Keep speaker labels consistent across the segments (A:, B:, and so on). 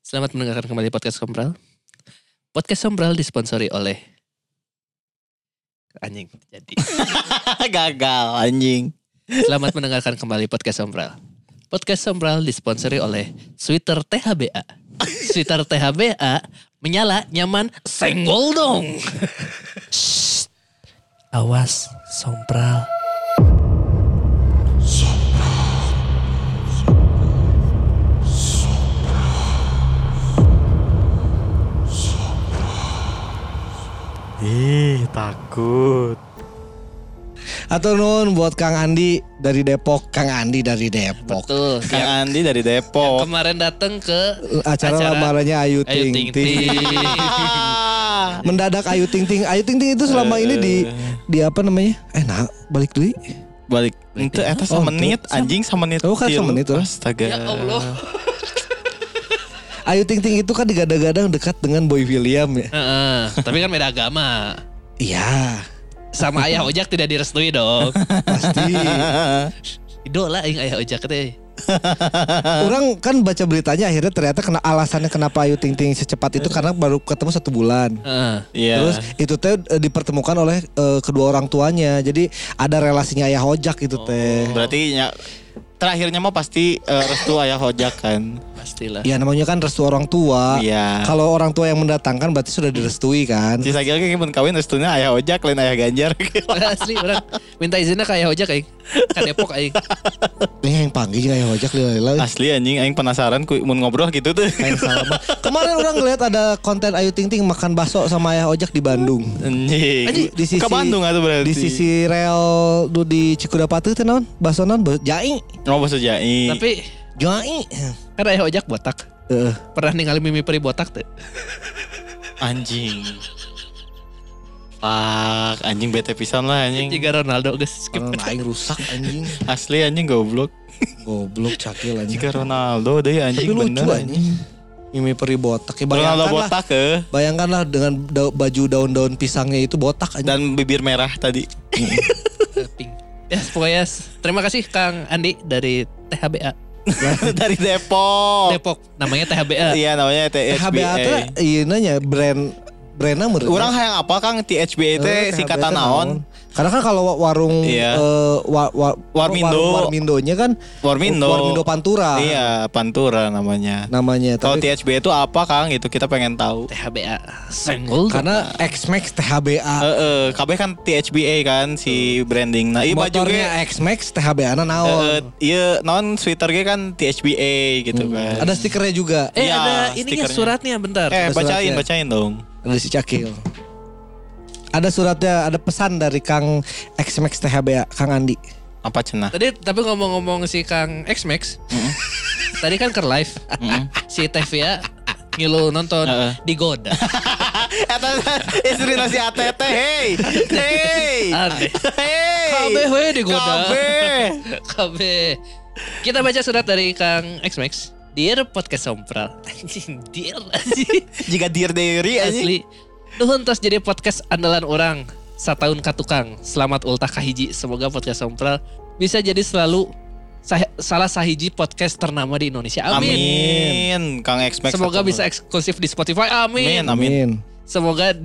A: Selamat mendengarkan kembali podcast Sombral. Podcast Sombral disponsori oleh anjing. Jadi,
B: Eh, Gagal anjing.
A: selamat mendengarkan kembali podcast Sombral. Podcast Sombral disponsori oleh Sweater THBA. Sweater THBA menyala, nyaman, senggol dong. Shh. Awas, Sombral.
C: Ih, takut.
D: Atau nun buat Kang Andi dari Depok, Kang Andi dari Depok.
A: Betul.
B: Kang Andi dari Depok.
A: Kemarin datang ke
D: Acara, lamarannya Ayu
A: Ayu
D: Ting
A: Ting
D: Ting.
A: Ting.
D: Mendadak Ayu Ting Ting. Ayu Ting Ting itu selama ini di
B: Eh.
D: di apa namanya? Eh, nah, balik dulu.
B: Balik. Itu eta
D: Oh,
B: semenit
D: itu.
B: anjing semenit.
D: Oh, kan
B: tilu.
D: semenit, orang.
B: Astaga.
A: Ya Allah.
D: Ayu Ting Ting itu kan digadang-gadang dekat dengan Boy William ya.
A: Heeh, tapi kan beda agama.
D: Iya,
A: Sama ayah ojak tidak direstui dong.
D: pasti.
A: Idola yang ayah ojak teh.
B: Ah.
D: Orang kan baca beritanya akhirnya ternyata kena alasannya kenapa Ayu Ting Ting secepat itu karena baru ketemu satu bulan.
A: Heeh.
B: Eh. Iya.
D: Terus itu teh eh, dipertemukan oleh eh, kedua orang tuanya. Jadi ada relasinya ayah ojak itu teh.
B: berarti ya, terakhirnya mah pasti eh, restu ayah hojak kan.
A: Pastilah.
D: Ya namanya kan restu orang tua.
B: Iya.
D: Kalau orang tua yang mendatangkan berarti sudah direstui kan.
B: Si Sagil kan mun kawin restunya ayah hojak lain ayah Ganjar.
A: Asli orang minta izinnya ke ayah ojak aing. Ke Depok aing.
D: Ini yang panggil ya, ayah ojak lila-lila.
B: Asli anjing aing penasaran ku mun ngobrol gitu tuh.
D: Kayak salaman. Kemarin orang ngeliat ada konten Ayu Ting Ting makan bakso sama ayah ojak di Bandung.
B: Anjing.
D: Anjing, di sisi-
B: Ke Bandung atuh berarti.
D: Di sisi rel du di Cikudapati itu non, bakso non, bakso jai,
B: Ngomong bahasa Jai.
A: Tapi
D: jai.
A: kan ayah ojak botak.
D: Eh,
A: Pernah ningali mimi peri botak teh.
B: Anjing. Pak, anjing bete pisan lah anjing.
A: Jika Ronaldo geus
B: Oh,
A: skip.
D: orang aing rusak anjing,
B: Asli anjing goblok.
D: goblok cakil anjing.
B: Jika Ronaldo deh anjing
D: Tapi lucu
B: bener anjing.
D: anjing. Mimi peri botak, ya,
B: Ronaldo
D: bayangkanlah,
B: botak ke
D: bayangkanlah dengan da- baju daun-daun pisangnya itu botak anjing.
B: dan bibir merah tadi.
A: Pink. Ya pokoknya s- terima kasih Kang Andi dari THBA
B: Dari Depok.
A: Depok. Namanya THBA.
B: Oh. Iya namanya
D: HBA teh
B: THBA.
D: iya nanya brand brandnya menurut
B: Orang hayang apa Kang THBA teh
D: Eh,
B: singkatan naon?
D: Karena kan kalau wa- warung
B: Iya.
D: eh, wa- wa-
B: Warmindo.
D: warung Warmindonya kan
B: Oh, Warmindo. Nah,
D: Warmindo Pantura.
B: Iya, Pantura namanya.
D: Namanya
B: Kalau
D: tapi
B: THBA itu apa Kang? Itu kita pengen tahu.
A: THBA. Senggol. dong.
D: karena X-Max THBA
B: Heeh, kabeh kan THBA kan si branding. Nah, iya baju ge
D: motornya X-Max THBA
B: Heeh,
D: na naon.
B: iya non sweater ge kan THBA gitu kan.
D: Ada stikernya juga.
A: Eh
B: Iya,
A: ada ininya
B: stikernya.
A: suratnya bentar.
B: eh
D: ada
B: bacain
D: suratnya.
B: bacain dong.
D: Ada si Cakil. Ada suratnya, ada pesan dari Kang X-Max THBA, Kang Andi.
B: Apa cenah?
A: Tadi tapi ngomong-ngomong si Kang X Max, tadi kan ke live si Tevia ngilu nonton
B: Heeh.
A: digoda.
B: Eta istri nasi ATT, hey, hey,
A: Aneh.
B: hey.
A: Kabeh we digoda.
B: Kabeh.
A: KB. Kita baca surat dari Kang X Max. Dear podcast sompral. Anjing, dear anjing.
B: Jika dear diary anjing.
A: Asli. Nuhun tos jadi podcast andalan orang. Satahun katukang. Selamat ultah kahiji. Semoga podcast sompral bisa jadi selalu sah- salah sahiji podcast ternama di Indonesia. Amin.
B: Amin. Kang X Max.
A: Semoga
B: satu.
A: bisa eksklusif di Spotify. Amin.
B: Amin, amin.
A: Semoga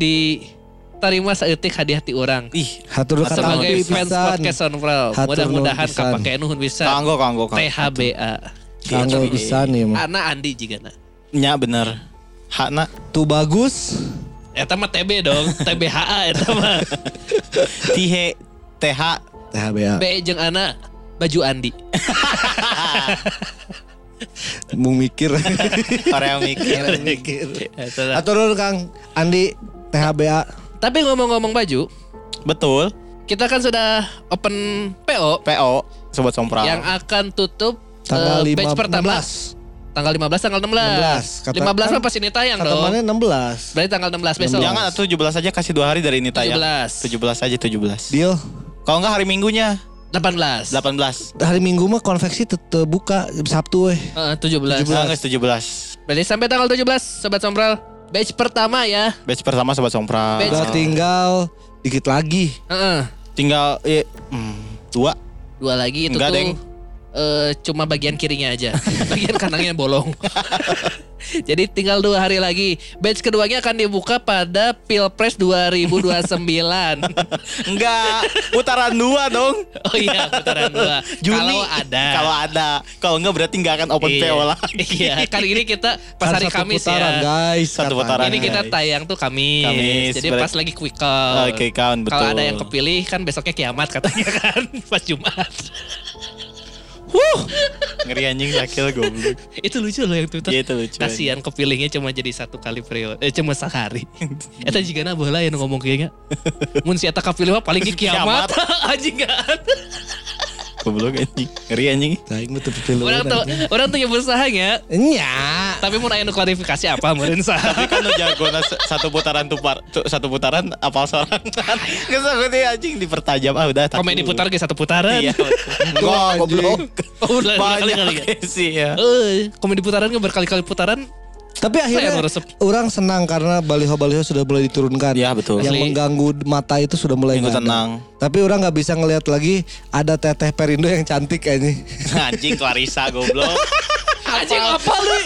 A: diterima seetik hadiah ti orang.
B: Ih,
D: Hatur Iya, kata
A: Sebagai fans podcast Sonfral,
D: Hatur
A: mudah-mudahan
D: nuhun pisan.
A: kapake nuhun bisa.
B: kanggo kanggo kanggo.
A: THBA.
D: Kanggo
B: THBA.
D: pisan ya mah.
A: Anak Iya, Andi juga na.
B: Nya bener. Hakna
D: Tuh bagus.
A: Eta mah TB dong, TBHA eta mah.
B: tihe TH
D: THBA.
A: B jeung Ana baju Andi.
D: Mau mikir.
B: Korea mikir.
A: Eta lah.
D: Atau dulu Kang Andi THBA.
A: Tapi ngomong-ngomong baju,
B: Betul.
A: kita kan sudah open PO
B: PO sobat sompral.
A: yang akan tutup
D: Tanggal
A: eh, batch
D: 15.
A: pertama. Tanggal 15, tanggal 16.
D: 16, kata-
A: 15 mah
D: kan
A: pas ini tayang
D: Kata
A: dong.
D: mana 16.
A: Berarti tanggal 16 besok.
B: Jangan 17 aja kasih dua hari dari ini tayang.
A: 17.
B: 17 aja 17.
D: Deal.
B: Kalau enggak hari Minggunya
A: 18.
B: 18.
D: Hari Minggu mah konveksi tetep buka Sabtu eh.
A: Heeh, 17.
B: Nah, nggak 17.
A: Berarti sampai tanggal 17 sobat sombral batch pertama ya.
B: Batch pertama sobat sompral.
A: Batch-
D: Udah tinggal dikit lagi.
A: Heeh.
B: Tinggal eh, hmm, dua.
A: Dua lagi itu
B: Enggak,
A: tuh.
B: Deng.
A: eh eh, cuma bagian kirinya aja. bagian kanannya bolong. Jadi tinggal dua hari lagi. Batch keduanya akan dibuka pada Pilpres 2029.
B: Enggak, putaran dua dong.
A: oh iya, putaran dua.
B: Juni.
A: Kalau ada.
B: Kalau ada. Kalau enggak berarti enggak akan open
A: Iya.
B: PO lagi.
A: Iya, kali ini kita pas
D: Kan
A: hari
D: satu
A: Kamis
D: putaran,
A: ya.
D: guys.
B: Satu
D: katanya.
B: putaran. ya.
A: Ini kita
B: guys.
A: tayang tuh Kamis.
B: Kamis,
A: Jadi
B: berarti-
A: pas lagi quick count.
B: Oke, kawan, betul.
A: Kalau ada yang kepilih kan besoknya kiamat katanya kan pas Jumat.
B: Ngeri anjing sakil goblok.
A: itu lucu loh yang Twitter.
B: Iya, itu lucu.
A: Kasihan kepilihnya cuma jadi satu kali periode, eh, cuma sehari. Eta jika na bola yang ngomong kayaknya. Mun si Eta kepilih mah paling di kiamat. Anjing kan.
B: Goblok anjing. Ngeri anjing.
D: Nah, ini betul betul.
A: Orang tuh orang tuh yang berusaha ya.
D: Nya.
A: Tapi mun aya nu klarifikasi apa meureun sah.
B: Tapi kan lu jago na s- satu putaran tupar, tu- satu putaran apal seorang kan. Nggak sanggup dia anjing dipertajam ah udah. tapi
A: Komedi
B: lu.
A: putar ge satu putaran.
B: Iya. Enggak
D: anjing.
B: goblok.
A: Oh, udah berkali-kali ya.
B: Banyak sih ya.
A: Eh, komedi putaran ge berkali-kali putaran.
D: Tapi akhirnya
A: Saya resep.
D: orang senang karena baliho-baliho sudah mulai diturunkan.
B: Iya, betul.
D: Yang
A: Asli.
D: mengganggu mata itu sudah mulai
B: Minggu
D: nggak ada.
B: tenang.
D: Tapi orang nggak bisa ngelihat lagi ada teteh Perindo yang cantik kayaknya.
B: Anjing Clarissa goblok.
A: Anjing apa lu?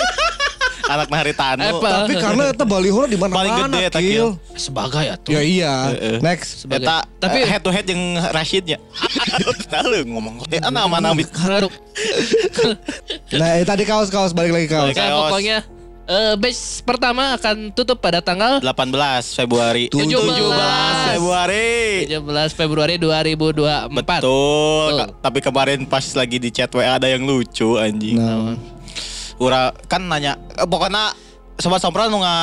B: Anak Anu. Maharitano.
A: Apa?
D: Tapi karena itu baliho di mana-mana.
B: Paling gede,
D: Kil.
B: Takil.
A: Sebagai atuh.
D: Ya iya.
B: Heeh.
D: Next.
A: Sebagai-
B: Eta tapi
A: Tapi-
B: Eh, head to head yang Rashidnya. Lalu ngomong eh ana mana ambil
A: Haruk.
D: Nah, eh, tadi kaos kaos balik lagi
B: Balik.
D: kaos.
A: Nah,
B: Chaos.
A: pokoknya eh batch pertama akan tutup pada tanggal
B: 18 Februari.
A: 17.
B: 17 Februari.
A: 17 Februari 2024.
B: Betul.
A: Betul.
B: Ka- Tapi kemarin pas lagi di chat WA ada yang lucu anjing.
D: Nah,
B: Ura kan nanya eh, pokoknya sobat sompral nu nga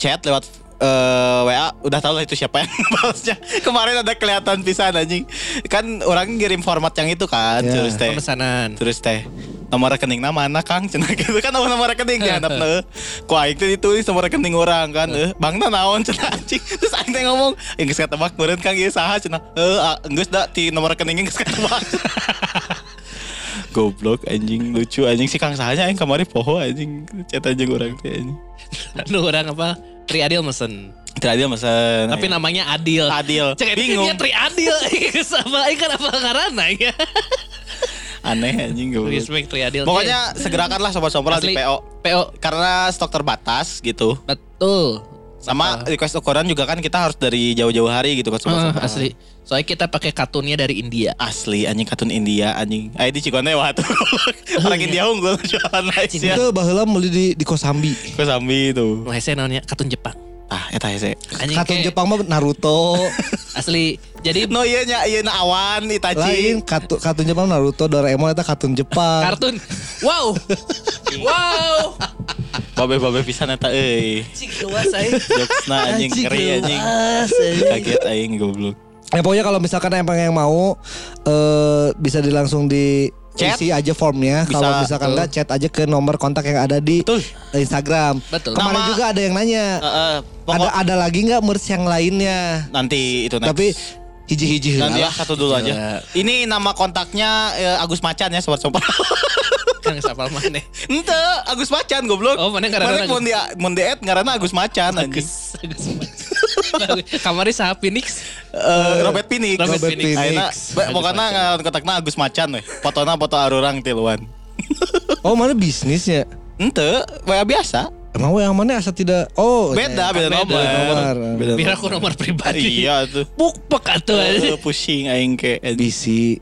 B: chat lewat eh, WA udah tau lah itu siapa yang balasnya. Kemarin ada kelihatan pisan anjing. Kan orang ngirim format yang itu kan
D: Ya.
B: terus teh.
A: Pemesanan.
B: Terus teh nomor rekeningna mana Kang? Cenah gitu kan nomor nomor rekening dihandap teh. Ku aing teh ditulis nomor rekening orang kan. Eh, bangna naon cenah anjing. Terus aing teh ngomong, "Eh geus katebak meureun Kang ieu saha cenah." Eh, a- geus da ti nomor rekening geus katebak. Goblok anjing lucu anjing si Kang sahanya aing kamari poho anjing chat anjing orang teh anjing.
A: Aduh orang apa? Tri Adil mesen.
B: Tidak adil masa. nah, ya.
A: Tapi namanya Adil.
B: iya. Adil.
A: Cek
B: Bingung.
A: Bingung. Tri Adil. Sama ikan apa karena ya?
B: aneh anjing goblok.
A: Respect Tri Adil.
B: Pokoknya segerakanlah sobat sompral
A: Asli.
B: di PO
A: PO.
B: karena stok terbatas gitu.
A: Betul.
B: Sama request ukuran juga kan kita harus dari jauh-jauh hari gitu kan
A: Heeh,
B: sobat-sobat.
A: Ah, asli. Soalnya kita pakai katunnya dari India.
B: Asli anjing katun India anjing. Ayo di Cikoneng wah tuh. Orang India unggul jualan Malaysia.
D: itu baheula meuli di di Kosambi.
B: Kok sambi itu.
A: Malaysia namanya katun Jepang.
B: Ah eta hese.
A: Anjing
D: Katun
A: ke-
D: Jepang mah Naruto.
A: Asli. Jadi
B: No iya nya iya na awan
D: Lain
B: Itachi.
D: katu, katun Jepang Naruto Doraemon itu katun Jepang.
A: kartun. Wow. wow.
B: Babe-babe pisan eta euy.
A: Cik luas aja.
B: Jokesna anjing Ah, ngeri anjing. Kaget aing goblok.
D: Ya pokoknya kalau misalkan emang yang mau eh bisa dilangsung di
B: Chat.
D: isi aja formnya.
B: Bisa,
D: Kalau misalkan
B: betul.
D: enggak chat aja ke nomor kontak yang ada di
B: Betul.
D: Instagram.
A: Betul.
D: Kemarin
B: Nama-
D: juga ada yang nanya.
B: Heeh.
D: ada
B: Pokok
D: ada lagi nggak merch yang lainnya?
B: nanti itu next.
D: Tapi hiji-hiji
B: nanti ya
D: lah.
B: satu dulu aja. Ini nama kontaknya eh, Agus Macan ya sobat sobat.
A: Kang sapal mana?
B: Ente Agus Macan goblok.
A: Oh, mana ngaranna
B: Mana mun di mun di add ngaranna Agus Macan anjing.
A: Bagus, bagus banget. Kamarnya saha Phoenix.
B: Eh, Robert Pinix.
A: Robert
D: Robert Pinix.
B: Ayeuna,
A: Pinix.
B: be- Pokokna ngaran kontakna Agus Macan we. Fotona foto arurang tiluan.
D: Oh mana bisnisnya?
B: Ente, WA biasa.
D: Emang yang mana asal tidak? Oh
B: Beda, beda
A: Beda
B: nomor.
D: nomor.
B: Beda
A: Biar aku nomor pribadi.
B: Iya tuh.
A: Buk pek atuh.
B: Eh, pusing aing ke.
D: ya. Bisi.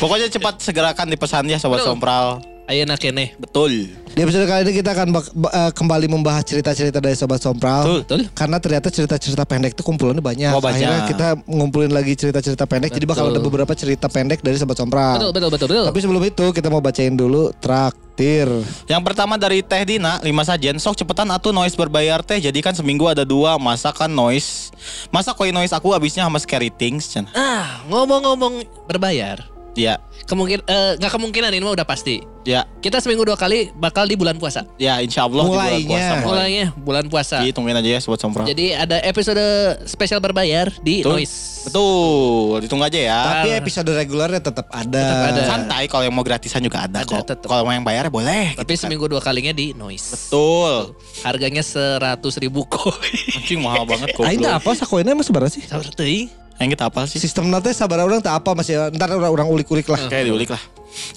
B: Pokoknya cepat segerakan dipesan ya sobat
A: Betul.
B: sompral.
A: Ayeuna keneh.
B: Betul.
D: Di episode kali ini kita akan bak- ba- eh, kembali membahas cerita-cerita dari Sobat Sompral.
B: Betul.
A: Betul.
D: Karena ternyata cerita-cerita pendek itu kumpulannya banyak.
B: Oh, banyak.
D: Akhirnya kita ngumpulin lagi cerita-cerita pendek. Jadi bakal
A: Betul.
D: ada beberapa cerita pendek dari
B: Ah.
D: Sobat Sompral.
A: Betul, betul, betul, betul.
D: Tapi sebelum itu kita mau bacain dulu traktir.
B: Yang pertama dari Teh Dina, 5 sajen. Sok cepetan atuh noise berbayar teh. Jadi kan seminggu ada dua. Masa kan noise. Masa koi noise aku habisnya sama scary things. Cen.
A: Ah, ngomong-ngomong berbayar.
B: Ya,
A: Kemungkin eh, nggak kemungkinan ini mah udah pasti.
B: ya,
A: Kita seminggu dua kali bakal di bulan puasa.
B: ya insya Allah di bulan
D: Mulainya.
B: puasa mulai.
A: Mulainya bulan puasa.
B: Jadi tungguin aja ya sobat sompral.
A: Jadi ada episode spesial berbayar di
B: Betul.
A: Noise.
B: Betul, ditunggu aja ya. Eh,
D: Tapi episode regulernya tetap ada.
A: Tetap ada.
B: Santai kalau yang mau gratisan juga ada,
A: Ada,
B: kok.
A: tetep.
B: Kalau mau yang bayar ya boleh.
A: Tapi
B: gitu kan.
A: seminggu dua kalinya di Noise.
B: Betul.
A: Harganya 100.000 ribu koi.
B: Anjing mahal banget kok.
D: Ah,
A: Ah,
D: Aina apa sakoinnya emang seberapa sih?
A: Sabar teuing.
B: Yang kita apal sih.
D: Sistem nanti sabar orang tak apa masih ntar orang ulik-ulik lah.
B: Kayak diulik lah.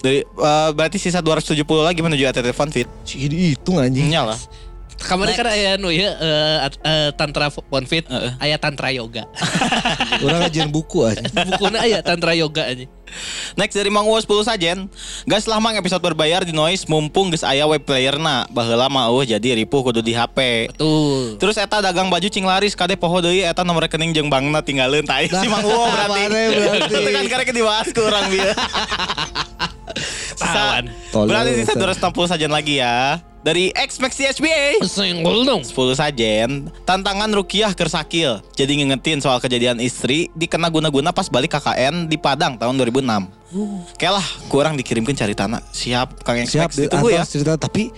B: Dari eh, berarti sisa 270 lagi menuju ATT Fun Fit.
D: Si dihitung anjing.
B: Nya lah.
A: Kamari kan aya nu ya eh, at- eh, tantra bonfit,
B: Heeh.
A: aya tantra yoga.
D: Orang ngajian buku anjing.
A: Bukuna aya tantra yoga anjing.
B: Next dari Mang Uwas 10 sajen. Gas lah mang episode berbayar di noise mumpung geus aya web playerna. Baheula mah eueuh jadi ripuh kudu di HP.
A: Tuh.
B: Terus eta dagang baju cing laris kade poho deui eta nomor rekening jeung bankna tinggalin tai si Mang Uwo berarti.
D: Mane berarti.
B: Itu kan karek dibahas ku urang bieu. Sisa-
A: Tawan.
D: Tolol,
B: Berarti sisa
D: eta.
B: 260 sajen lagi ya. Dari X Max CSBA.
A: Senggol dong.
B: 10 sajen Tantangan Rukiah Kersakil Jadi ngingetin soal kejadian istri Dikena guna-guna pas balik KKN di Padang tahun 2006 Oke lah kurang dikirimkan cari tanah Siap Kang
D: Siap
B: Siap
D: di
B: ditunggu ya
D: atas cerita tapi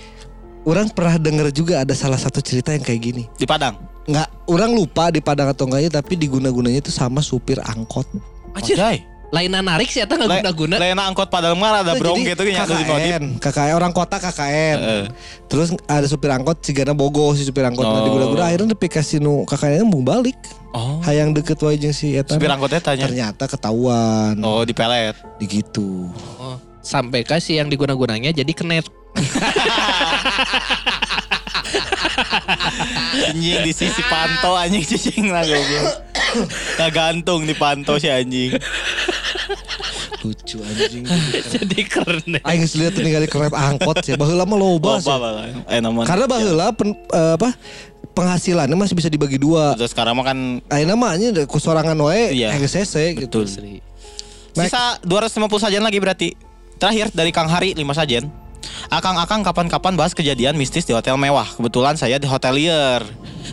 D: orang pernah denger juga ada salah satu cerita yang kayak gini.
B: Di Padang
D: Nggak, orang lupa di Padang atau enggaknya tapi diguna-gunanya itu sama supir angkot.
A: Anjir,
B: Anjay.
A: lainnya narik sih eta
B: Le-
A: enggak guna-guna.
B: Lena angkot Padang mah ada
D: Nah,
B: brong
D: jadi
B: gitu nyatu di Modif
D: KKN, KKN orang kota KKN.
B: Heeh.
D: Terus ada supir angkot cigana bogo si supir angkot
B: Oh.
D: nah diguna-guna akhirnya nepi ka sinu KKN mau balik.
B: Oh
D: Hayang deket wae jeung si eta.
B: Supir angkotnya tanya
D: Ternyata ketahuan
B: Oh di pelet
D: digitu.
A: Oh, sampai kasih yang diguna-gunanya jadi kenet.
B: Anjing di sisi panto anjing cicing lah goblok. Nah gantung di panto si anjing
D: Lucu anjing.
A: jadi kenet.
D: Aing geus lihat ningali kereta angkot ya. Baheula mah loba.
B: Boba
D: sia.
B: lah Eh namun
D: Karena baheula pen, eh, apa penghasilannya masih bisa dibagi dua.
B: Terus sekarang mah kan
D: Ayeuna mah nya ada kusorangan wae
B: Iya.
D: hayang sese gitu.
B: Betul Sisa 250 sajian lagi berarti. Terakhir dari Kang Hari 5 sajian. Akang-akang kapan-kapan bahas kejadian mistis di hotel mewah. Kebetulan saya di hotelier.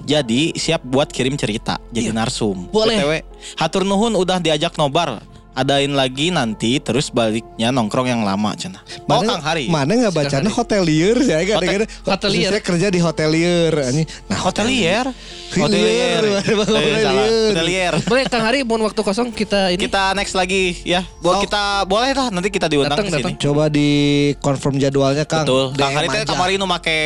B: Jadi siap buat kirim cerita jadi narsum.
A: Boleh.
B: BTW, hatur nuhun udah diajak nobar. Adain lagi nanti terus baliknya nongkrong yang lama cenah. Mau Oh, Kang Hari.
D: Mana nggak bacanya
A: Hari.
D: hotelier sih? ya Aing
B: Hotel-
D: kadang-kadang
A: hotelier.
D: Saya kerja di hotelier. anjing. Nah
B: Hotelier.
D: Hotelier.
B: Eh, salah. Hotelier.
A: Boleh Kang Ari mau waktu kosong kita ini.
B: Kita next lagi ya. Buat
D: Oh.
B: kita boleh lah nanti kita diundang
A: Datang,
B: ke sini.
A: datang.
D: coba di confirm jadwalnya Kang.
B: Betul. Kang
D: DM
B: Hari teh
D: aja.
B: kemarin nu make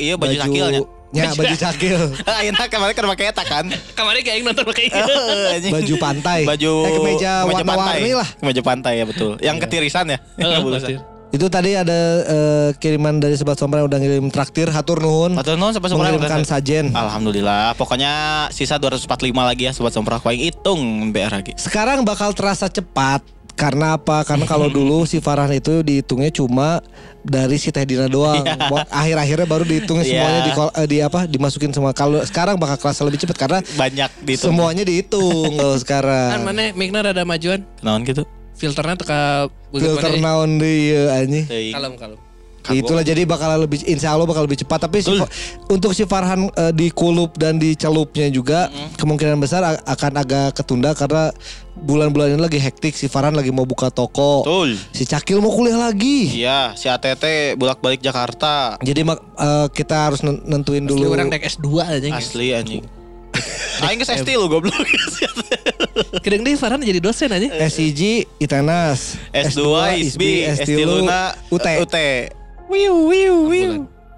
B: ieu baju cakilnya.
D: Ya baju cakil.
B: Ayeuna kemarin kan make eta kan.
A: Kamari kayak nonton pakai itu.
B: Eh, anjing.
D: Iya. Baju pantai.
B: Baju
D: Eh, kemeja warna-warni lah. Iya. Eh,
B: Kemeja pantai ya betul. Yang ketirisan ya. Yang bulusan.
D: Itu tadi ada eh, kiriman dari Sobat Sompra yang udah ngirim traktir Hatur Nuhun.
B: Matur nuhun sobat Sumprah.
D: Mengirimkan sajen.
B: Alhamdulillah. Pokoknya sisa 245 lagi ya sobat Sumprah. Kau yang hitung BR lagi.
D: Sekarang bakal terasa cepat karena apa? Karena kalau dulu si Farhan itu dihitungnya cuma dari si Teh Dina doang. Buat Akhir-akhirnya baru dihitungnya
B: Iya.
D: semuanya di, kol- eh, di apa? Dimasukin semua. Kalau sekarang bakal kerasa lebih cepat karena
B: Banyak di itu.
D: semuanya dihitung kalau sekarang.
A: Kan mana mikna rada majuan.
B: Kenaon gitu.
A: Filternya teka ya?
D: Filter naon deui ieu, anjing.
B: Teuing.
A: Kalem kalem.
D: Itulah jadi bakal lebih insya Allah bakal lebih cepat tapi si
B: Betul.
D: Fa- untuk si Farhan eh, di kulup dan di celupnya juga kemungkinan besar a- akan agak ketunda karena bulan-bulan ini lagi hektik si Farhan lagi mau buka toko.
B: Betul.
D: Si Cakil mau kuliah lagi.
B: Iya, si ATT bolak-balik Jakarta.
D: Jadi mak- eh, kita harus nen- nentuin
A: Dulu
D: dulu.
A: orang naik S2 aja.
B: Asli anjing. Aing geus ST lu goblok.
A: Kadang deh Farhan jadi dosen
D: Eh,
A: aja.
D: SIG Itenas,
B: S2 ISB, ST
D: S3
B: Luna,
D: UT.
B: UT. Wiu wiu wiu.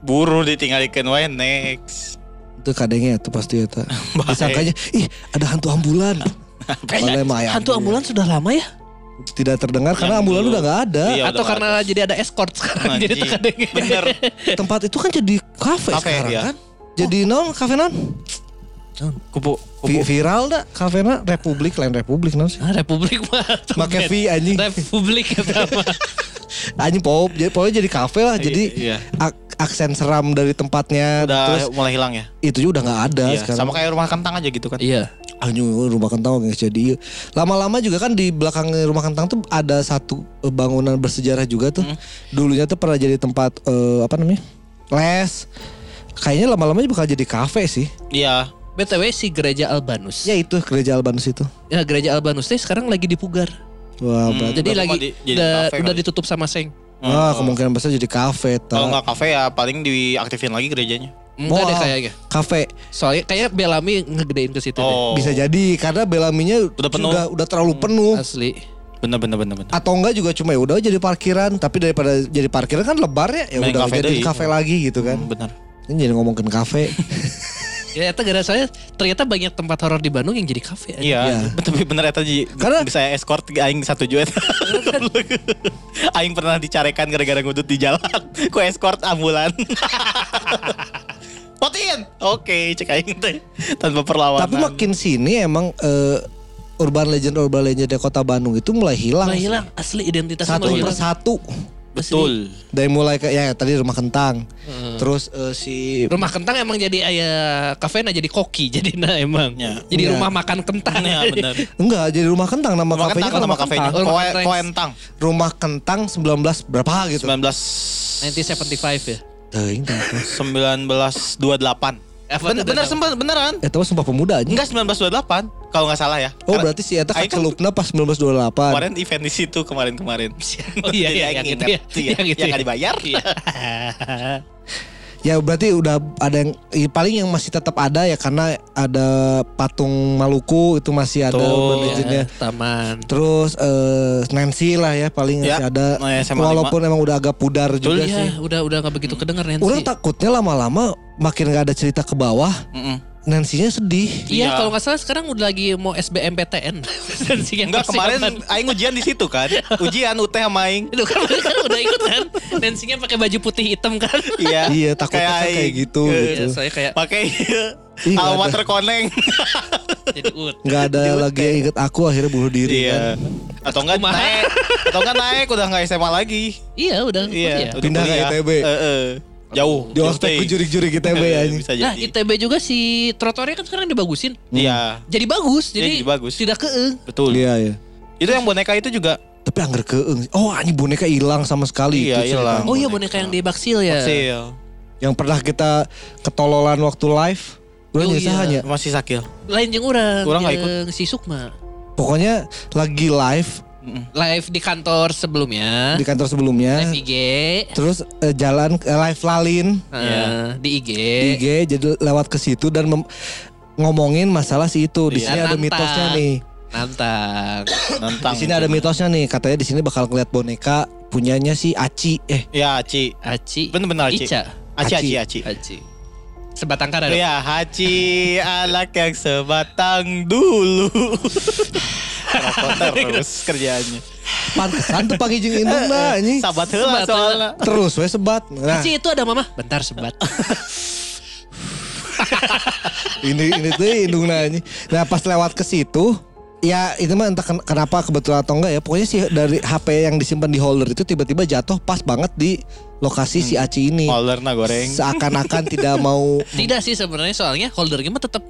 B: Buru ditinggalikeun wae next.
D: Itu kadangnya tuh pasti itu.
B: Baik.
D: Disangkanya ih ada hantu ambulan.
B: ya?
D: Padahal emang ayam.
A: Hantu ambulan sudah lama ya?
D: tidak terdengar karena
B: Yang
D: ambulan
B: dulu.
D: udah nggak ada.
B: Iya,
A: Atau
B: udah
A: karena jadi ada escort sekarang jadi
B: Anjing.
A: terkadang
B: Bener.
D: tempat itu kan jadi kafe
B: Iya. Kafe,
D: sekarang
B: iya.
D: kan jadi non kafe non
B: Kupu
D: Vi- viral dah kafe non republik lain republik non sih
A: Ah, Republik mah. tuh, Ben.
D: Make V anjing
A: Republik ya, apa?
D: anjing pop jadi pokoknya jadi kafe lah jadi
B: Iya.
D: ak- aksen seram dari tempatnya
B: udah
D: terus
B: mulai hilang ya.
D: itu juga udah nggak ada
B: Iya,
D: sekarang
B: sama kayak rumah kentang aja gitu kan.
A: Iya.
D: anjing rumah kentang nggak jadi iya. lama-lama juga kan di belakang rumah kentang tuh ada satu eh, bangunan bersejarah juga
B: Hmm.
D: tuh dulunya tuh pernah jadi tempat eh, apa namanya les kayaknya lama-lama bakal jadi kafe sih
B: Iya.
A: BTW si gereja Albanus.
D: ya itu gereja Albanus itu
A: Ya, gereja Albanus teh sekarang lagi dipugar.
D: Wah,
B: Hmm.
D: berarti
A: Jadi
B: Udah
A: lagi
B: mau di- jadi
A: udah,
B: kafe
A: udah
B: kali.
A: ditutup sama Seng.
D: Ah, kemungkinan besar jadi kafe. ta.
B: Kalau nggak kafe ya paling diaktifin lagi gerejanya.
A: Enggak
D: Wow.
A: deh kayaknya.
D: Kafe
A: Soalnya kayak Bellamy ngegedein ke situ
B: Iya. Oh.
A: deh.
D: bisa jadi karena belaminya
B: Udah penuh. Hmm.
D: udah, udah terlalu penuh.
A: Asli.
B: Bener bener bener bener.
D: Atau enggak juga cuma ya udah jadi parkiran, tapi daripada jadi parkiran kan lebar ya, ya
B: Main
D: udah
B: kafe
D: jadi
B: deui.
D: kafe lagi gitu kan.
B: Bener.
D: Ini jadi ngomongin kafe.
A: Ya itu gara saya ternyata banyak tempat horor di Bandung yang jadi kafe. anjing.
B: Iya, tapi bener eta Ji.
D: Karena-
B: bisa escort ke aing satu juta. aing pernah dicarekan gara-gara ngudut di jalan. Ku escort ambulan. Potin. Oke, cek aing teh tanpa perlawanan.
D: Tapi makin sini emang eh, urban legend urban legendnya kota Bandung itu mulai hilang.
A: Mulai hilang asli identitasnya
D: Satu
A: mulai hilang.
D: persatu.
B: betul.
D: Dari mulai kayak ya tadi rumah kentang. Terus eh, si
A: Rumah kentang emang jadi ayah kafe nah jadi koki jadi nah emang.
B: Ya.
A: Jadi
D: Ya.
A: rumah makan kentang.
B: Iya, benar.
D: enggak jadi rumah kentang nama
B: Rumah
D: kafenya
B: kentang,
D: kan
B: nama kafenya.
A: kentang.
B: Koe,
A: Rumah
B: koentang.
D: Rumah kentang 19 berapa gitu. Eh,
A: 1975 ya.
B: 19
D: Teuing tah.
B: 1928.
A: Apa
B: Bener,
A: tuh,
B: bener,
A: Dadang?
B: sempat- beneran.
D: Eta mah Eh, sumpah pemuda anjing.
B: Enggak 1928 kalau nggak salah ya.
D: Oh
B: Karena
D: berarti si Eta
B: Aing kan
D: kecelupna pas 1928.
B: kemarin event di situ kemarin-kemarin.
A: Oh iya iya
B: Yang
A: yang
B: ingat,
A: itu ya.
B: iya.
A: Yang itu. ya.
B: Yang nggak dibayar.
A: Iya.
D: Ya berarti udah ada yang i- paling yang masih tetap ada ya karena ada patung Maluku itu masih ada
B: Tuh,
D: urban
B: ya.
D: legendnya.
A: Taman.
D: Terus eh, Nancy lah ya paling
B: Ya,
D: masih ada.
B: eh, SMA
D: Walaupun emang udah agak pudar
B: Betul,
D: juga sih.
A: Iya, udah udah nggak begitu kedengar Nancy.
D: Orang takutnya lama-lama makin gak ada cerita ke bawah,
B: Mm-mm.
D: Nancy-nya sedih.
A: Iya,
B: Iya.
A: kalau nggak salah sekarang udah lagi mau SBMPTN. Nancy yang
B: Enggak kemarin
A: persiapan.
B: aing ujian di situ kan. Ujian UT sama aing.
A: Lu kan, kan udah ikut kan? Nancy-nya pakai baju putih hitam kan?
B: Iya.
D: Iya, takutnya kan kayak
B: aing,
D: gitu,
B: eh,
D: gitu.
A: Iya, saya kayak
B: Pakai
D: Ih, nggak
B: al
D: ada.
B: water koneng.
A: jadi ut.
D: Gak ada lagi yang inget aku akhirnya bunuh diri kan.
B: Iya. Atau enggak
A: Kumaha.
B: naik. Atau enggak naik udah enggak SMA lagi.
A: Iya, udah.
B: Iya, udah
D: Oh Pindah ke
B: kuliah.
D: ITB.
B: Heeh. Jauh.
D: Di ospek
B: jauh,
D: ku jurik-jurik kita
B: Eh,
D: ya.
B: Bisa
A: Nah,
B: jadi.
A: ITB juga si trotoarnya kan sekarang dibagusin.
B: Iya.
A: Jadi bagus,
B: Iya,
A: jadi,
B: jadi bagus.
A: tidak keeng.
B: Betul.
D: Iya ya.
B: Itu yang boneka itu juga
D: Tapi anggar keeng. Oh anjing boneka hilang sama sekali.
B: Iya,
D: itu ceritanya.
B: hilang.
A: Oh iya boneka yang di Baksil
D: Iya.
A: ya.
B: Sil.
D: Yang pernah kita ketololan waktu live. Udah ya.
A: Oh,
D: nyisa
A: iya.
D: hanya.
B: Masih sakil.
A: Lain jeung urang,
B: Urang nggak
A: jeung si Sukma.
D: Pokoknya lagi live
B: Mm-mm.
A: Live di kantor sebelumnya.
D: di kan? kantor sebelumnya.
A: live IG.
D: Terus eh, jalan eh, live lalin
A: Nah,
B: Iya.
A: di IG.
D: di IG jadi lewat ke situ dan mem- ngomongin masalah si itu.
A: Iya.
D: Di sini ada
A: Nantang.
D: mitosnya nih.
A: Nantang.
B: Nantang.
D: Di sini ada mitosnya nih. Katanya di sini bakal ngeliat boneka punyanya si Aci. Eh
B: Ya, Aci.
A: Aci.
B: Bener-bener Aci.
A: Ica.
B: Aci,
D: Aci.
B: Aci, Aci.
A: Aci. Sebatang kara. dong.
B: Ya, Haci anak yang sebatang dulu. Rokok terus kerjaannya.
D: pantesan tuh pangijing indung nah ini.
B: Sabat heula
A: Sebat
B: soalnya.
D: Terus we sebat. Nah,
A: Aci itu ada mama. Bentar sebat.
D: ini ini tuh indung nah ini. Nah pas lewat ke situ Ya itu mah entah ken- kenapa kebetulan atau enggak ya Pokoknya sih dari HP yang disimpan di holder itu tiba-tiba jatuh pas banget di lokasi
A: Hmm.
D: si Aci ini
B: Holderna goreng.
D: Seakan-akan tidak mau
A: Tidak sih sebenarnya soalnya holdernya mah tetap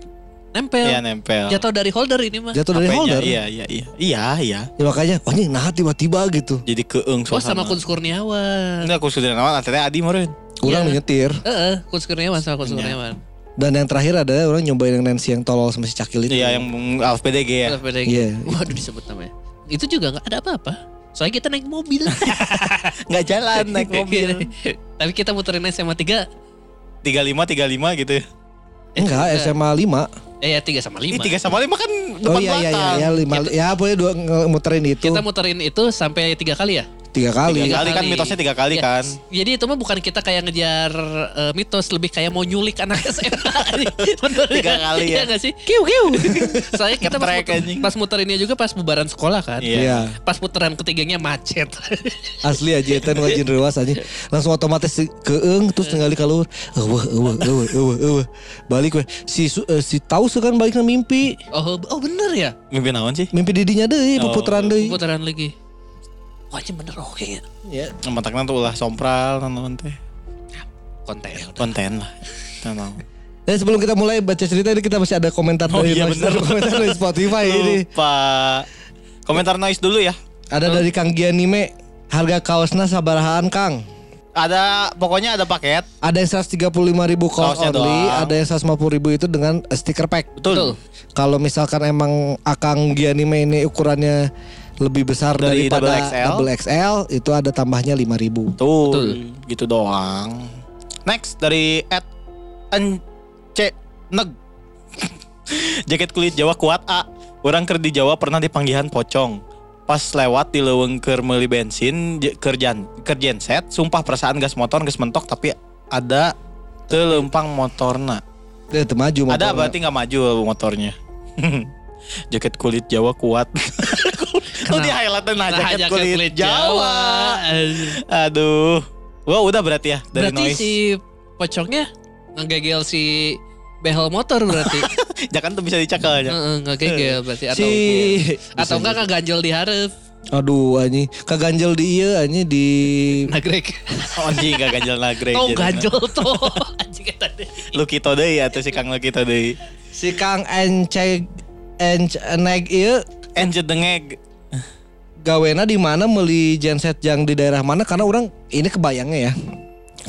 A: nempel.
B: Iya nempel.
A: Jatuh dari holder ini mah.
D: jatuh dari
B: HP-nya,
D: holder
B: Iya, iya, iya. Iya, iya.
D: Ya makanya oh ini nah tiba-tiba gitu
B: Jadi keeng
A: Oh sama
B: suasana.
A: Kunz Kurniawan.
B: Enggak, aku sudah nama antara Adi meureun.
D: Kurang
A: Iya.
D: nyetir
A: Eh, eh, Kunz Kurniawan sama
D: Iya.
A: Kunz Kurniawan.
D: Dan yang terakhir adalah orang nyobain yang Nancy yang tolol sama si Cakil itu
B: Iya, yang Alf PDG ya.
A: Terus beda
D: Iya.
A: gitu. Waduh disebut namanya. Itu juga nggak ada apa-apa. Soalnya kita naik mobil.
B: Enggak jalan naik mobil.
A: Tapi kita muterin SMA 3.
B: 35 35 gitu. ya.
D: Enggak SMA 5
A: Eh ya 3 sama 5.
B: Ih, 3 sama 5 kan depan
D: Oh iya iya iya
B: belakang.
D: ya, lima, ya pokoknya dua nge- muterin itu
A: Kita muterin itu sampai tiga kali ya?
D: tiga kali
B: Tiga kali kan
A: kali.
B: mitosnya tiga kali
A: Ya,
B: kan.
A: Jadi itu mah bukan kita kayak ngejar eh, mitos, lebih kayak mau nyulik anak SMA. Bener
B: Tiga
A: nggak?
B: kali
A: Iya
B: ya.
A: nggak sih? Kiu kiu. Soalnya kita pas,
B: Ngetrek,
A: muter-
B: anjing.
A: pas muterinnya juga pas bubaran sekolah kan.
B: Iya.
A: Pas puteran ketiganya macet.
D: Asli aja eta nu wajin reuas aja. Langsung otomatis si- keeng terus tinggal di kalur. Eueuh eueuh eueuh eueuh eueuh. Balik we si su- eh, si tahu kan baliknya mimpi.
A: oh, oh bener ya?
B: Mimpi naon sih?
D: Mimpi didinya deui
B: Oh,
D: peputaran deui.
A: Putaran lagi. Wah ini bener oke ya.
D: Ya.
B: Mantakna tuh ulah sompral nanaon teh.
A: Konten.
B: Konten lah. Tenang.
D: Dan sebelum kita mulai baca cerita ini kita masih ada komentar
B: Oh
D: dari
B: iya,
D: Noise,
B: bener.
D: komentar dari Spotify ini.
B: Lupa. Komentar noise dulu ya.
D: Ada dari Kang Gianime. Harga kaosnya sabarahaan Kang.
B: Ada pokoknya ada paket.
D: Ada yang 135 ribu kaos
B: Kaosnya
D: only,
B: doang.
D: ada yang 150 ribu itu dengan eh, stiker pack.
A: Betul.
D: Kalau misalkan emang Akang Gianime ini ukurannya lebih besar
B: Dari
D: daripada
B: double XL.
D: double XL, itu ada tambahnya
B: Tuh,
D: 5000.
A: Betul.
B: gitu doang. Next dari at Ence Neg. Jaket kulit Jawa kuat A. Orang ker di Jawa pernah dipanggihan pocong. Pas lewat di leuweung keur meuli bensin je- keur jan keur genset, sumpah perasaan gas motor geus mentok tapi ada telempang motorna.
D: Dia teu maju
B: Ada
D: motornya.
B: berarti nggak maju motornya. jaket kulit Jawa kuat. Lu di highlight nah, jaket, kulit, Jawa. Aduh. Wah udah berarti ya dari
A: berarti
B: noise.
A: si pocongnya ngegegel si behel motor berarti.
B: Jangan tuh bisa dicekel aja.
A: Heeh, ngegegel berarti atau
D: Si
B: iya.
A: atau enggak keganjel di hareup.
D: Aduh anjing, kaganjel di ieu anjing di
A: Nagrek.
B: Oh, anjing gak ganjel nagrek.
A: Oh
B: jadinya.
A: ganjel tuh. Anjing eta deh.
B: Lu kita deui atau si Kang lu kita deui.
D: si Kang Enceg iya. Enceneg ieu
B: Enjet dengeg.
D: gawena di mana meuli genset yang di daerah mana karena orang ini kebayangnya ya.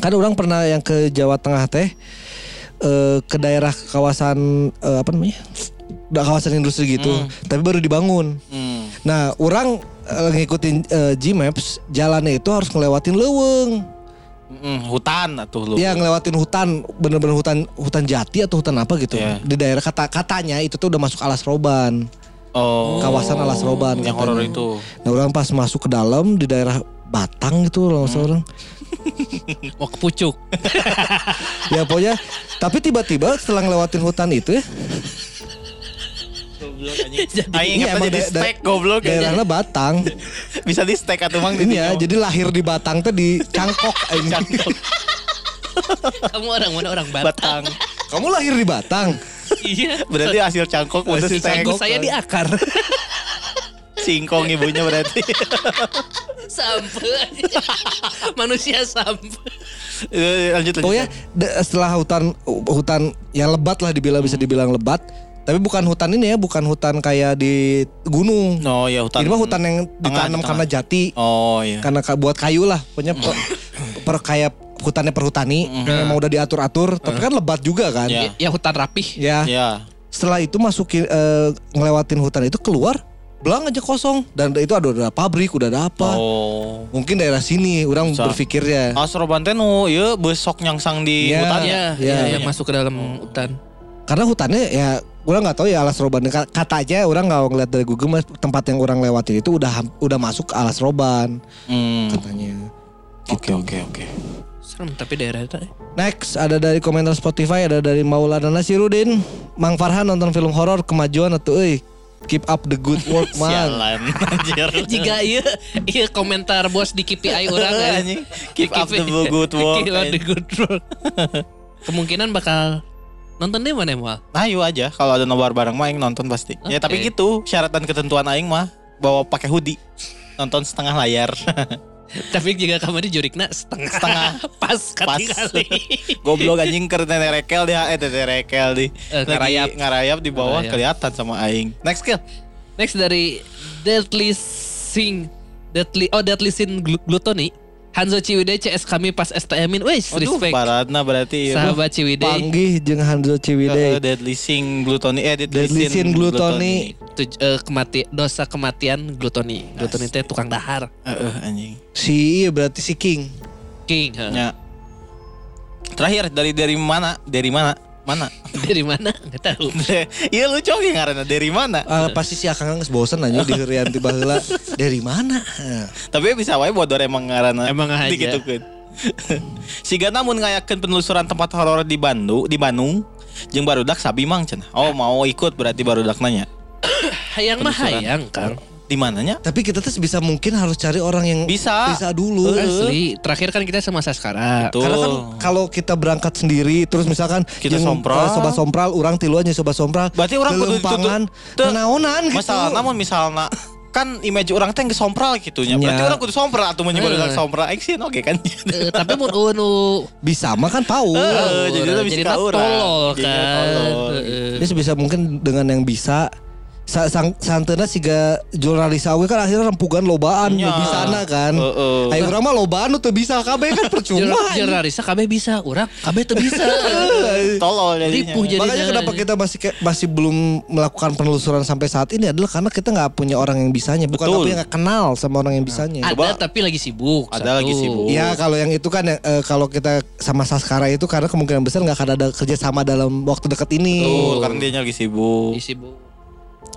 D: Kan orang pernah yang ke Jawa Tengah teh eh, ke daerah kawasan eh, apa namanya? Da- kawasan industri gitu, tapi baru dibangun.
B: Hmm.
D: Nah, orang eh, ngikutin eh, G-Maps, jalannya itu harus ngelewatin leuweung.
B: Mm, hutan atuh lu.
D: Iya ngelewatin hutan bener-bener hutan hutan jati atau hutan apa gitu
B: Iya.
D: di daerah kata katanya itu tuh udah masuk alas roban
B: Oh.
D: kawasan alas roban
B: yang
D: katanya.
B: horor itu.
D: Nah orang pas masuk ke dalam di daerah Batang gitu
B: Hmm.
D: loh maksud orang.
A: Mau ke pucuk.
D: Ya pokoknya tapi tiba-tiba setelah ngelewatin hutan itu ya
B: Goblok anjing.
D: Iya,
B: Aing ingatnya
D: emang
B: jadi
D: da- da-
B: stack goblok. anjing.
D: daerahnya Batang.
B: Bisa di stack atuh mang
D: Ini ya
B: ditinggal.
D: jadi lahir di Batang tuh di Cangkok. anjing.
A: Kamu orang mana orang Batak.
B: batang.
D: Kamu lahir di Batang.
A: Iya.
B: Berarti hasil cangkok udah
D: Hasil
B: stack.
A: Rambut saya
D: kan.
A: di akar.
B: Singkong ibunya berarti.
A: Sampe. Manusia sampe.
B: Eh, lanjut lanjut.
D: Pokoknya de- setelah hutan hutan ya lebat lah dibilang bisa
B: Hmm.
D: dibilang lebat. Tapi bukan hutan ini ya, bukan hutan kayak di gunung.
B: No, ya hutan.
D: Ini mah hutan yang
B: Tengah,
D: ditanam
B: di
D: karena jati,
B: Oh iya.
D: Ya. karena ka- buat kayu lah, punya per, per kayak hutannya perhutani, memang udah diatur-atur, tapi kan lebat juga kan.
B: Iya.
A: Ya hutan rapih.
D: Ya,
B: Ya.
D: setelah itu masukin eh, ngelewatin hutan itu keluar, belang aja kosong dan itu ada ada pabrik, udah ada apa.
B: Oh. Ah.
D: Mungkin daerah sini orang
B: Bisa.
D: berpikirnya.
B: Asroban teh nu ieu oh, iya, besok nyangsang di
D: Iya.
B: hutan ya.
A: Iya,
D: Iya.
A: iya, yang masuk ke dalam
B: Oh.
A: hutan.
D: Karena hutannya ya orang nggak tahu ya alas roban Ka- katanya orang nggak ngeliat dari Google Maps, tempat yang orang lewatin itu udah ham- udah masuk ke alas roban
B: Hmm.
D: katanya.
B: Oke oke oke.
A: Serem tapi daerah itu.
D: Next ada dari komentar Spotify ada dari Maulana Nasirudin. Mang Farhan nonton film horor kemajuan atuh euy. Keep up the good work man.
B: Sialan anjir.
A: Jika iya, iya komentar bos di KPI orang eh.
B: Anjing. Keep
A: Di
B: up the
A: KPI.
B: good work.
A: Keep up the good work. Kemungkinan bakal nonton deh mana mal.
B: Ayo Nah, iya aja kalau ada nobar bareng mah aing nonton pasti. Ya tapi
A: Oke.
B: gitu, syarat dan ketentuan aing mah bawa pakai hoodie. Nonton setengah layar.
A: Tapi jika kamu di jurikna setengah
B: Setengah.
A: pas
B: Pas.
A: ketinggali.
B: Goblok anjing ke tete rekel dia, eh tete rekel di.
A: Eh, ngarayap.
B: Lagi Ngarayap di bawah
A: Ngarayap.
B: kelihatan sama aing. Next kill.
A: Next dari Deadly Sing Deadly Oh Deadly Sin Glu- Gluttony Hanzo Ciwidey CS kami pas STM-in Wih
B: Aduh,
A: respect
B: Baratna berarti ya.
A: Sahabat Ciwidey
D: Panggih jeung
B: Eh,
D: Hanzo Ciwidey.
B: Deadly Sing Glutoni eh
D: Deadly Sin Glutoni.
A: Tuj- eh, kemati dosa kematian glutoni glutoni teh tukang dahar
B: Heeh, Eh, anjing.
D: Si iya berarti si King.
A: king heh.
B: Ya. Terakhir dari dari mana? Dari mana? Mana?
A: dari mana nggak tahu
B: Iya lucu ya ngarana dari mana?
D: Ah, pasti si Akang geus bosen aja di Herian tiba heula. Dari mana? Ah.
B: Tapi bisa wae bodor emang eh, ngarana.
A: Emang aja.
B: Dikitukeun. Siga namun ngayakeun penelusuran tempat horor di Bandung, di Bandung. Jeung barudak sabi mang cenah. Oh, mau ikut berarti barudak nanya.
A: hayang mah
B: Penelusuran.
A: hayang kang
B: Di mananya?
D: Tapi kita tuh bisa mungkin harus cari orang yang
B: Bisa.
D: bisa dulu.
A: asli terakhir kan kita sama Saskara
B: Tuh.
D: Karena kan kalau kita berangkat sendiri terus misalkan
B: Kita sompral.
D: eh, sobat sompral orang tiluan jeung sobat sompral.
B: Berarti orang kudu
D: lelempangan,
B: ditutup. Teu.
D: nanaonan gitu.
B: Masalah namun misalnya kan image orang teh geus sompral gitu nya. Berarti
D: Nya.
B: orang kudu sompral atuh mun barudak
A: Eh.
B: sompral. Aing sih oge kan.
A: Eh, tapi mun eueun nu
D: bisa mah kan pau.
B: Heeh, Eh, jadi
A: orang,
B: lebih
A: jadi
B: suka
A: mah
B: orang.
A: tolol
B: Jadi mah
A: kan
B: tolol.
A: Heeh.
D: Jadi sebisa mungkin dengan yang bisa sa sang santena siga jurnalis awe kan akhirnya rempugan lobaan
B: Nya.
D: di sana kan.
B: Iya. Heeh.
D: Ayo urang mah lobaan nu teu bisa kabeh kan percuma.
A: Jurnal- jurnalisa kabeh bisa orang kabeh teu bisa
B: Tolol jadinya.
A: ripuh jadinya
D: Makanya kenapa kita masih ke- masih belum melakukan penelusuran sampai saat ini adalah karena kita nggak punya orang yang bisanya, bukan
B: Betul. Nah.
D: tapi yang nggak kenal sama orang yang bisanya.
A: ada
B: Coba.
A: tapi lagi sibuk
B: Ada lagi sibuk.
D: Iya kalau yang itu kan eh, kalau kita sama Saskara itu karena kemungkinan besar nggak akan ada kerjasama dalam waktu dekat ini.
B: Tuh, karena dia lagi sibuk.
D: Iya.
A: Lagi sibuk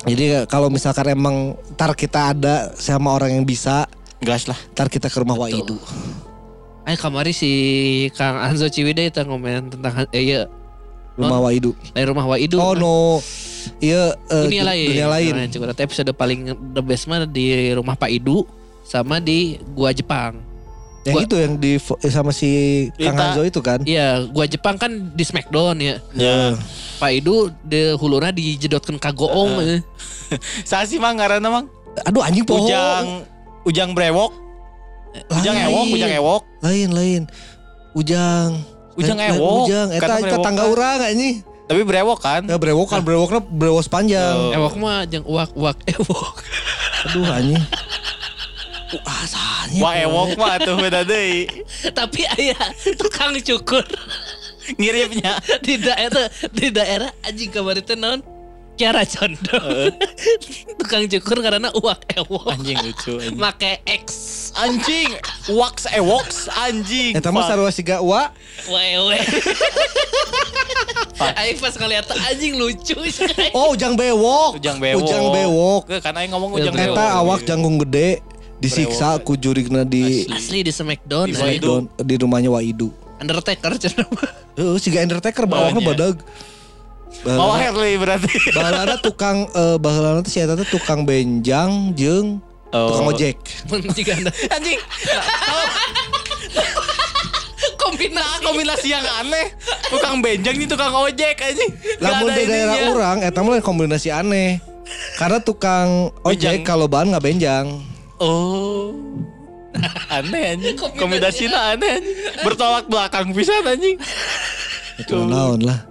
D: Jadi kalau misalkan emang tar kita ada sama orang yang bisa,
B: Gas lah.
D: tar kita ke rumah Waidu.
A: Ay kamari si Kang Anzo Ciwidey itu ngomen tentang eh, iya,
D: Rumah Waidu.
A: Lain rumah Waidu.
D: Oh no. Iya eh,
A: dunia
D: du-
A: lain.
D: Dunia lain.
B: Nah,
A: Cukup nanti episode paling the best mah di rumah Pak Idu sama di gua Jepang.
D: Hmm. Yang
A: Gua-
D: itu yang di eh, sama si Kang
B: Rita.
D: Hanzo itu kan.
A: Iya, gua Jepang kan di Smackdown ya.
B: Ya.
A: Pak Idu di hulurna dijedotkeun ka
D: Ah,
A: goong. eh.
B: Saya sih mang karena mang
D: Aduh anjing poho.
B: ujang ujang brewok, ujang
D: Lain.
B: ewok, ujang ewok.
D: Lain lain. Ujang.
B: Ujang
D: Lain- lain
B: ewok.
D: Ujang. Eh, Eta
B: Karena
D: eta
B: brewok
D: tangga
B: kan.
D: urang anjing.
B: Tapi brewok kan.
D: Ya brewokan, brewoknya brewos panjang.
B: Oh.
A: Ewok mah jeung uak-uak ewok.
D: Aduh anjing. Uh, asalnya.
B: Wah ewok mah tuh beda deh.
A: Tapi aya tukang cukur
B: Ngirimnya.
A: di daerah di daerah anjing kabar itu non Kiara Condong tukang cukur karena uak ewok
B: Anjing lucu. Anjing.
A: make X
B: anjing. Wax ewoks anjing.
D: Eta mah
B: Fuck.
D: sarua siga wa.
A: wewe Aing pas ngeliat anjing lucu
D: Oh ujang bewok.
B: Ujang bewok.
D: Ujang bewok.
B: Gak, karena yang ngomong
A: Iya,
B: ujang
A: brewok.
D: Eta awak janggung gede disiksa ku jurigna di
A: asli di Smackdown
B: Di
A: eh.
B: Waidu.
D: don- di rumahnya Waidu.
A: Undertaker cenah mah.
D: Heeh, siga Eh, Undertaker bawahna
B: Bawahnya.
D: badag.
B: Mau Harley berarti.
D: Bahalana tukang eh bahalana teh si eta teh tukang benjang jeung
B: Oh.
D: tukang ojek.
A: Mun jika Anda
B: Anjing. nah,
A: kombinasi
B: Kombinasi yang aneh. Tukang benjang nih tukang ojek anjing. Gak
D: Lamun
B: ada
D: di daerah
B: ininya.
D: urang eta mah lain kombinasi aneh. Karena tukang ojek
B: Benjang.
D: kalau bahan nggak benjang.
B: Oh. Aneh anjing.
A: Kombinasi-
B: Kombinasinya aneh. anjing. Bertolak belakang pisan anjing.
D: Itu naon lah.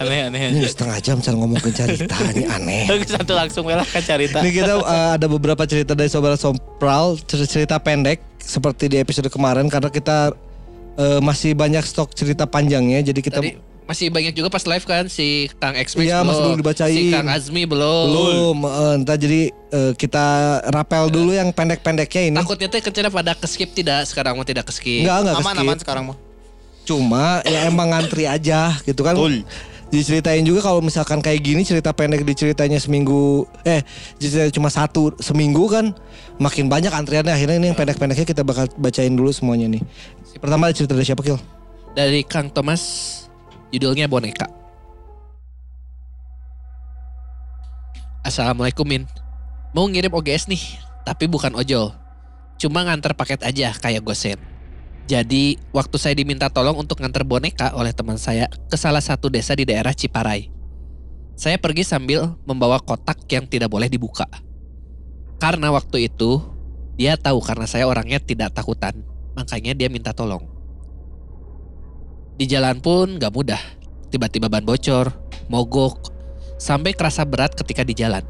B: Aneh aneh. anjing.
D: Ini setengah jam cara ngomong cerita ini aneh.
B: Satu langsung lah kan cerita.
D: Ini kita uh, ada beberapa cerita dari Sobat Sompral, cer- cerita pendek seperti di episode kemarin karena kita uh, masih banyak stok cerita panjangnya jadi kita
A: Tadi masih banyak juga pas live kan si Kang X
D: Iya, masih belum dibacain.
A: Si Kang Azmi belum.
D: belum eh, entah jadi uh, kita rapel dulu yang pendek-pendeknya ini.
A: Takutnya teh kecenah pada keskip tidak sekarang mah tidak keskip.
D: Enggak, enggak
B: aman
D: ke-skip.
B: aman sekarang mah.
D: Cuma ya emang ngantri aja gitu kan.
B: Betul.
D: Diceritain juga kalau misalkan kayak gini cerita pendek diceritanya seminggu eh ceritanya cuma satu seminggu kan makin banyak antriannya akhirnya ini yang pendek-pendeknya kita bakal bacain dulu semuanya nih. Pertama ada cerita dari siapa Kil?
A: Dari Kang Thomas judulnya boneka. Assalamualaikum Min. Mau ngirim OGS nih, tapi bukan ojol. Cuma nganter paket aja kayak gosen. Jadi waktu saya diminta tolong untuk nganter boneka oleh teman saya ke salah satu desa di daerah Ciparai. Saya pergi sambil membawa kotak yang tidak boleh dibuka. Karena waktu itu dia tahu karena saya orangnya tidak takutan, makanya dia minta tolong. Di jalan pun gak mudah. Tiba-tiba ban bocor, mogok, sampai kerasa berat ketika di jalan.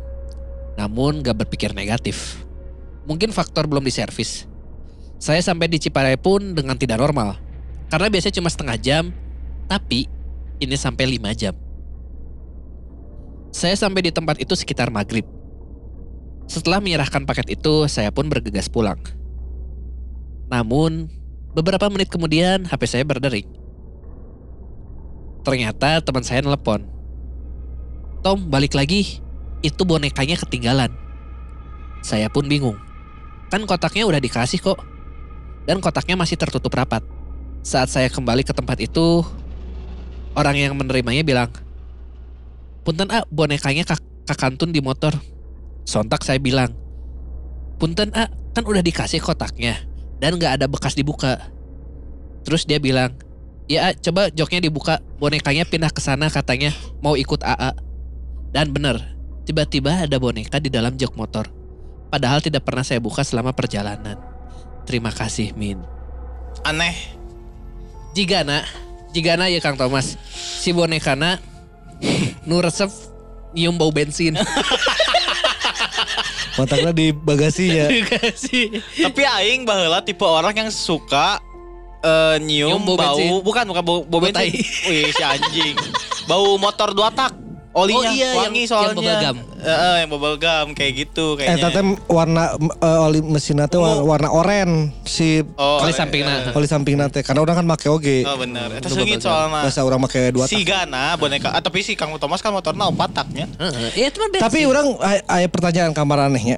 A: Namun gak berpikir negatif. Mungkin faktor belum diservis. Saya sampai di Ciparai pun dengan tidak normal. Karena biasanya cuma setengah jam, tapi ini sampai 5 jam. Saya sampai di tempat itu sekitar maghrib. Setelah menyerahkan paket itu, saya pun bergegas pulang. Namun, beberapa menit kemudian HP saya berdering. Ternyata teman saya nelpon. Tom, balik lagi. Itu bonekanya ketinggalan. Saya pun bingung. Kan kotaknya udah dikasih kok. Dan kotaknya masih tertutup rapat. Saat saya kembali ke tempat itu, orang yang menerimanya bilang, Punten A, bonekanya kak kakantun di motor. Sontak saya bilang, Punten A, kan udah dikasih kotaknya. Dan gak ada bekas dibuka. Terus dia bilang, Ya, A, coba joknya dibuka, bonekanya pindah ke sana katanya mau ikut AA. Dan bener, tiba-tiba ada boneka di dalam jok motor. Padahal tidak pernah saya buka selama perjalanan. Terima kasih, Min.
B: Aneh.
A: Jigana, jigana ya Kang Thomas. Si bonekana nu resep nyium bau bensin.
D: Kontaknya di bagasinya.
A: Kasih.
B: Tapi aing baheula tipe orang yang suka eh, nyium,
A: Nyium bau
B: bau,
A: bensin.
B: bukan bukan bau, bau
A: Bau tai.
B: bensin. Wih, si anjing. Bau motor dua tak. Olinya
A: Oh iya, yang-
B: wangi
A: yang
B: soalnya.
A: bubble gum.
B: Eh, eh, yang bubble gum kayak gitu
D: Eh
B: kayaknya.
D: tata warna eh, oli mesinnya teh warna,
B: Oh.
D: warna oren si
B: oh,
A: Kali
B: eh,
A: sampingna.
D: oli sampingna teh karena orang kan make
B: eh,
D: oge.
B: Oh benar. Itu
A: Itu
B: seungit
A: bubble gum.
B: soalnya.
D: Bahasa orang make dua
B: Si Gana boneka. Ah, tapi si Kang Thomas kan motornya opat taknya.
A: Heeh, Iya, itu mah bensin.
D: Tapi orang aya pertanyaan kamar anehnya.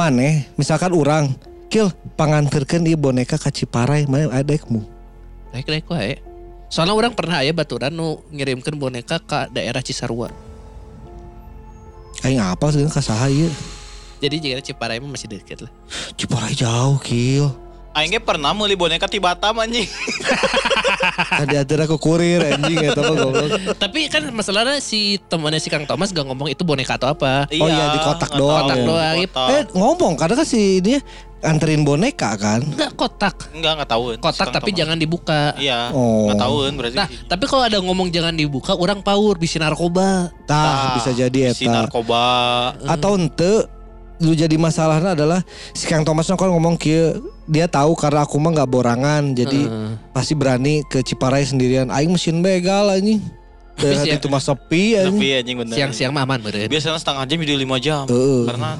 D: Maneh misalkan orang Kil panganterkeun ieu boneka ka Ciparai mana ada ekmu.
A: Rek, rek, wae. Soalnya orang pernah ya baturan nu ngirimkan boneka ke daerah Cisarua.
D: Aing apa sih ka saha ieu?
A: Jadi jika Ciparai mah masih deket lah.
D: Ciparai jauh kill.
B: Aing ge pernah meuli boneka ti Batam anjing.
D: Tadi ada aku kurir anjing eta mah goblok.
A: Tapi kan masalahnya si temannya si Kang Thomas gak ngomong itu boneka atau apa.
D: Oh iya, di kotak
B: nggak tahu.
D: doang
A: ya. Kotak doang.
B: Kotak.
D: Eh ngomong karena kan si dia anterin boneka kan.
A: Enggak kotak.
B: Enggak, enggak tahu.
A: Kotak tapi jangan dibuka.
B: Iya,
D: Oh.
B: enggak tahueun berarti.
A: Nah, tapi kalau ada ngomong jangan dibuka, orang paur bisi narkoba.
D: Tah Ah, bisa
B: Ah, Nah,
D: jadi
B: Si
D: eta.
B: narkoba.
D: Atau ente lu jadi masalahnya adalah si Kang Thomas kan ngomong kieu dia tahu karena aku mah nggak borangan jadi
A: Heeh.
D: pasti berani ke Ciparai sendirian aing mesin begal anjing daerah
A: Tapi sih-
D: itu mah sepi
B: Tapi
D: anjing
B: anjing bener.
A: siang-siang mah aman meureun.
B: Biasanya setengah jam jadi lima jam.
D: Heeh.
B: Karena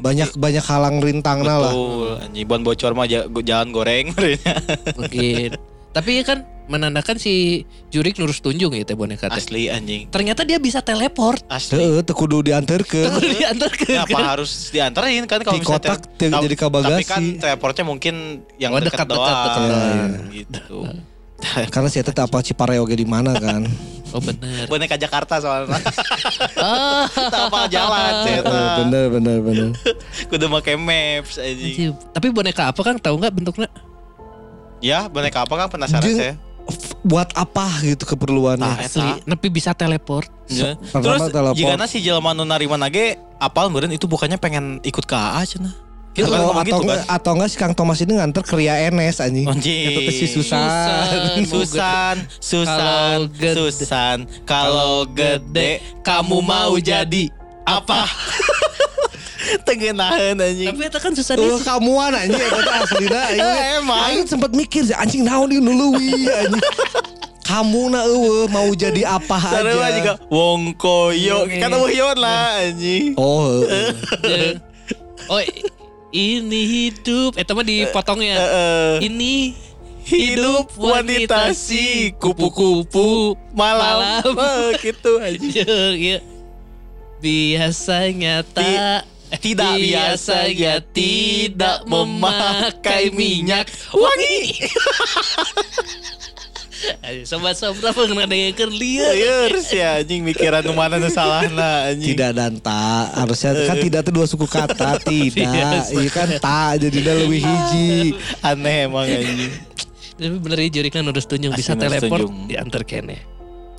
D: banyak banyak halang rintangna lah
B: betul anjing ban bocor mah ja- jalan goreng merenya.
A: Mungkin. Tapi kan menandakan si Jurik nurus tunjung ya teh boneka teh.
B: Asli anjing.
A: Ternyata dia bisa teleport.
B: Asli.
D: Heeh, teu kudu dianterkeun
A: Terus diantar ke
B: Kenapa Ya, harus diantarin kan kalau
D: Di
B: misalnya
D: kotak,
B: tele-
D: dia
B: tau-
D: jadi ke bagasi.
B: Tapi kan teleportnya mungkin yang
A: Oh,
B: dekat
A: dekat-dekat,
B: doang
D: Iya,
A: dekat-dekat.
B: gitu.
D: karena si eta teu apa Ciparai oge di mana kan
A: Oh bener.
B: Boneka Jakarta soalnya.
A: Ah,
B: Tak apa jalan
D: Heeh,
B: cerita.
D: bener bener bener
B: Kudu make maps anjing.
A: anjing. Tapi boneka apa Kang tahu nggak bentuknya?
B: Ya, boneka apa kan penasaran
D: Jeng-
B: saya.
D: F- buat apa gitu keperluannya
B: Nah,
A: Asli, nepi bisa teleport.
B: Ya.
D: pertama
B: Terus
D: telepon.
B: jika si jelema nu narima nage apal meureun itu bukannya pengen ikut ke AA cenah. Gitu kan
D: atau
B: ngomong
D: atau
B: gitu
D: enggak
B: kan. Oh,
D: atau enggak si Kang Thomas ini nganter ke Ria NS anjing
B: Anjing.
D: atau ke si Susan
A: Susan.
B: Susan, Susan,
A: Kalau gede-
B: Susan, kalau gede kamu mau jadi apa? Tengenahan anjing.
A: Tapi itu kan susah
D: Tuh
A: deh.
D: kamuan anjing eta teh aslina
B: Eh, emang.
D: Aing sempat mikir sih, anjing naon ieu nuluwi anjing. Kamu na eueuh mau jadi apa
B: Sarua juga
D: aja.
B: wong koyo, kan wong lah anjing.
D: Oh, heeh.
A: Oh, ini hidup. Eh, mah dipotongnya.
B: Heeh.
A: Ini
B: eh. Hidup wanita si kupu-kupu malam,
A: Malam.
B: Eh, gitu aja.
A: Iya. Biasanya tak
B: Eh, tidak biasanya ya, tidak memakai minyak wangi.
A: Ayo, Sobat-sobat apa ngedengarkan liar
B: Liar sih Iya, ya, anjing mikiran nu mana nu salahna anjing.
D: tidak dan tak harusnya kan
B: Eh.
D: tidak itu dua suku kata tidak
A: Iya.
D: iya kan tak jadinya
B: Ah.
D: lebih hiji
B: Aneh emang anjing.
A: Tapi bener ya Juri kan nurus tunjung Bisa
B: Asli nurus
A: teleport Ya,
B: tunjung.
A: diantar kene